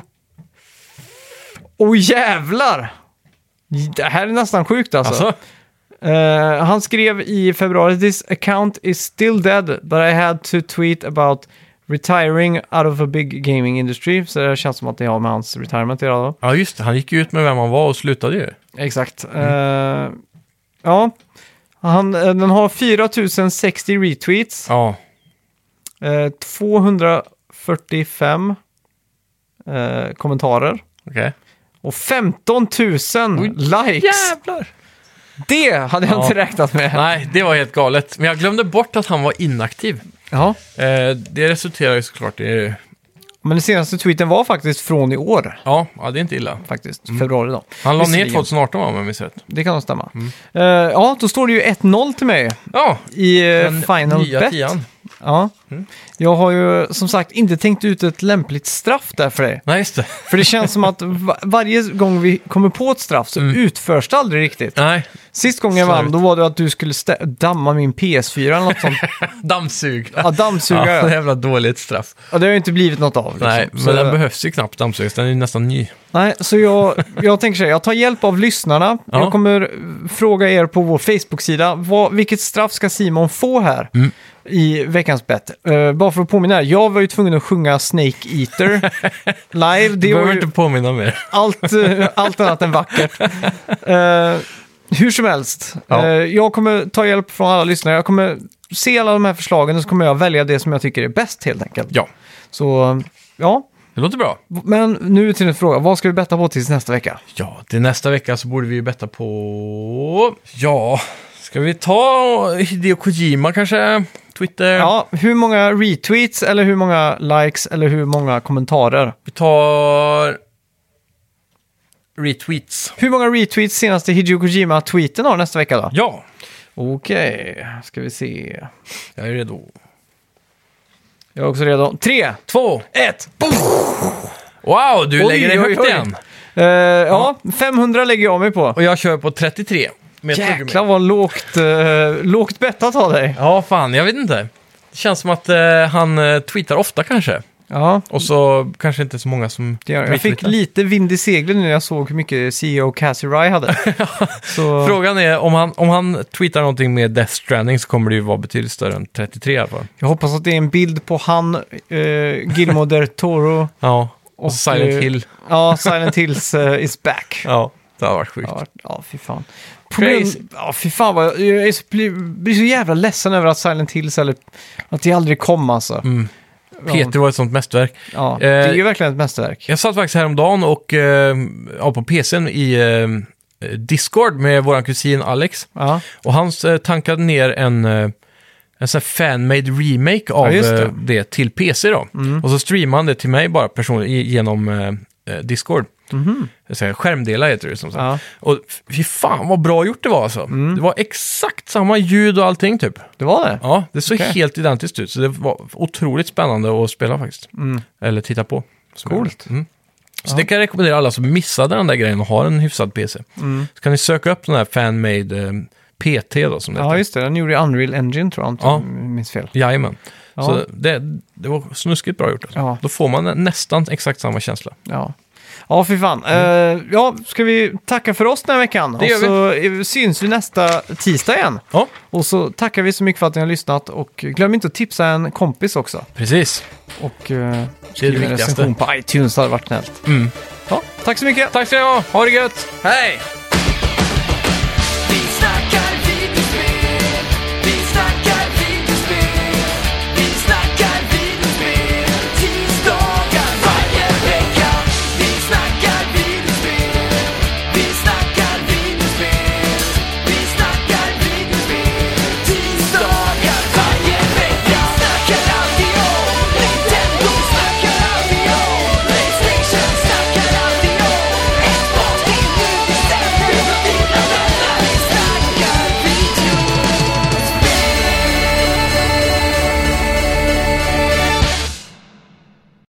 A: oh jävlar! Det här är nästan sjukt alltså.
B: Alltså,
A: Eh, han skrev i februari “This account is still dead, but I had to tweet about retiring out of a big gaming industry”. Så det känns som att det har med hans retirement att göra då.
B: ja just det, han gick ju ut med vem han var och slutade ju.
A: Exakt. Eh, ja. Han, eh, den har 4060 retweets,
B: Ja,
A: eh, 245 eh, kommentarer
B: okej.
A: och 15 000 likes.
B: Jävlar!
A: Det hade jag
B: Ja.
A: inte räknat med.
B: Nej, det var helt galet. Men jag glömde bort att han var inaktiv.
A: Ja.
B: Eh, det resulterar ju såklart i...
A: Men den senaste tweeten var faktiskt från i år.
B: Ja, ja, det är inte illa.
A: Faktiskt, februari då.
B: Han la ner
A: Visserligen.
B: 2018 va, om jag minns rätt.
A: Det kan nog stämma.
B: Mm.
A: Eh, ja, då står det ju 1-0 till mig
B: Ja,
A: i eh,
B: den
A: final
B: nya
A: bet.
B: tian. Mm.
A: Ja. Jag har ju som sagt inte tänkt ut ett lämpligt straff där för dig.
B: Nej, just det.
A: För det känns som att va- varje gång vi kommer på ett straff så
B: Mm.
A: utförs det aldrig riktigt.
B: Nej.
A: Sist gången jag vann,
B: Slarvigt.
A: då var det att du skulle stä- damma min PS4 eller något sånt.
B: Dammsug.
A: Ja, dammsuga.
B: Ja,
A: ja.
B: jävla dåligt straff.
A: Och det har ju inte blivit något av. Liksom.
B: Nej,
A: så,
B: men den behövs ju knappt dammsugas. Den är ju nästan ny.
A: nej, så jag, jag tänker så här, jag tar hjälp av lyssnarna.
B: Ja.
A: Jag kommer eh, fråga er på vår Facebook-sida, vad, vilket straff ska Simon få här
B: Mm.
A: i veckans bett? Eh, bara för att påminna er, jag var ju tvungen att sjunga Snake Eater live.
B: Du
A: Det var
B: behöver
A: ju
B: inte påminna mer.
A: allt, eh, allt annat än vackert. Eh, hur som helst,
B: Ja.
A: Eh, jag kommer ta hjälp från alla lyssnare. Jag kommer se alla de här förslagen och så kommer jag välja det som jag tycker är bäst helt enkelt.
B: Ja,
A: Så, ja.
B: det låter bra.
A: Men nu till en fråga. Vad ska vi betta på tills nästa vecka?
B: Ja, till nästa vecka så borde vi ju betta på... Ja, ska vi ta Hideo Kojima kanske? Twitter?
A: Ja, hur många retweets eller hur många likes eller hur många kommentarer?
B: Vi tar... Retweets.
A: Hur många retweets senaste Hideo Kojima-tweeten har nästa vecka då?
B: Ja,
A: Okej, ska vi se.
B: jag är redo.
A: Jag är också redo. Tre,
B: Två, ett, boom! Wow, du
A: Oj,
B: lägger dig
A: oj,
B: högt
A: oj.
B: igen.
A: Eh, ja, 500 lägger jag mig på.
B: Och jag kör på 33. Med tuggummi.
A: Jäklar vad lågt, eh, lågt bettat av dig.
B: Ja, fan, jag vet inte. Det känns som att eh, han eh, tweetar ofta kanske.
A: Ja,
B: Och så kanske inte så många som...
A: det gör jag. jag fick
B: retweetar.
A: lite vind i seglen nu när jag såg hur mycket CEO Cassie Rye hade. Så,
B: Frågan är, om han, om han tweetar någonting med Death Stranding så kommer det ju vara betydligt större än 33 i alla fall.
A: jag hoppas att det är en bild på han, eh, Guillermo del Toro.
B: Ja, och,
A: Och,
B: Silent
A: eh,
B: Hill.
A: Ja, Silent Hills eh, is back.
B: Ja, det hade varit sjukt.
A: Ja, ja fy fan.
B: Crazy.
A: Problem, ja, fy fan vad jag, jag är så, blir, blir så jävla ledsen över att Silent Hills, eller att det aldrig kom alltså.
B: Mm. Peter var ett sånt mästerverk.
A: Ja, det
B: Eh,
A: är ju verkligen ett mästerverk.
B: Jag satt faktiskt häromdagen och, eh, ja, på PCn i eh, Discord med vår kusin Alex.
A: Ja,
B: Och han eh, tankade ner en, eh, en sån här fan-made remake av
A: just det. Mm.
B: det. det till PC då. Och så streamade han det till mig bara personligen i- genom eh, eh, Discord. Det är skärmdelar heter det som sagt.
A: Mhm. ja. Mm.
B: Och fy fan vad bra gjort det var alltså. Det var exakt samma ljud och allting typ.
A: Det var det.
B: Ja, det såg
A: Okej.
B: helt identiskt ut. Så det var otroligt spännande att spela faktiskt.
A: Mm.
B: Eller titta på. som jag
A: Coolt.
B: gjorde. Mm. Så det kan jag rekommendera alla som missade den där grejen och har en hyfsad PC.
A: Mm.
B: Så kan ni söka upp den här fanmade eh, PT då som det
A: Ja,
B: heter.
A: just det. Den gjorde ju Unreal Engine tror jag, om
B: Ja.
A: jag inte minns fel.
B: Jajamän.
A: Ja.
B: Så det, det var snuskigt bra gjort. Alltså.
A: Ja.
B: Då får man nästan exakt samma känsla.
A: Ja, ja fy fan. Eh, ja, ska vi tacka för oss den här veckan?
B: Mm. Det gör
A: och så eh, syns vi nästa tisdag igen.
B: Ja,
A: Och så tackar vi så mycket för att ni har lyssnat och glöm inte att tipsa en kompis också.
B: precis.
A: Och eh, skriv en
B: viktigaste.
A: recension på iTunes, det hade varit snällt. Ja, tack så mycket!
B: Tack ska ni ha. Ha det gött. Hej!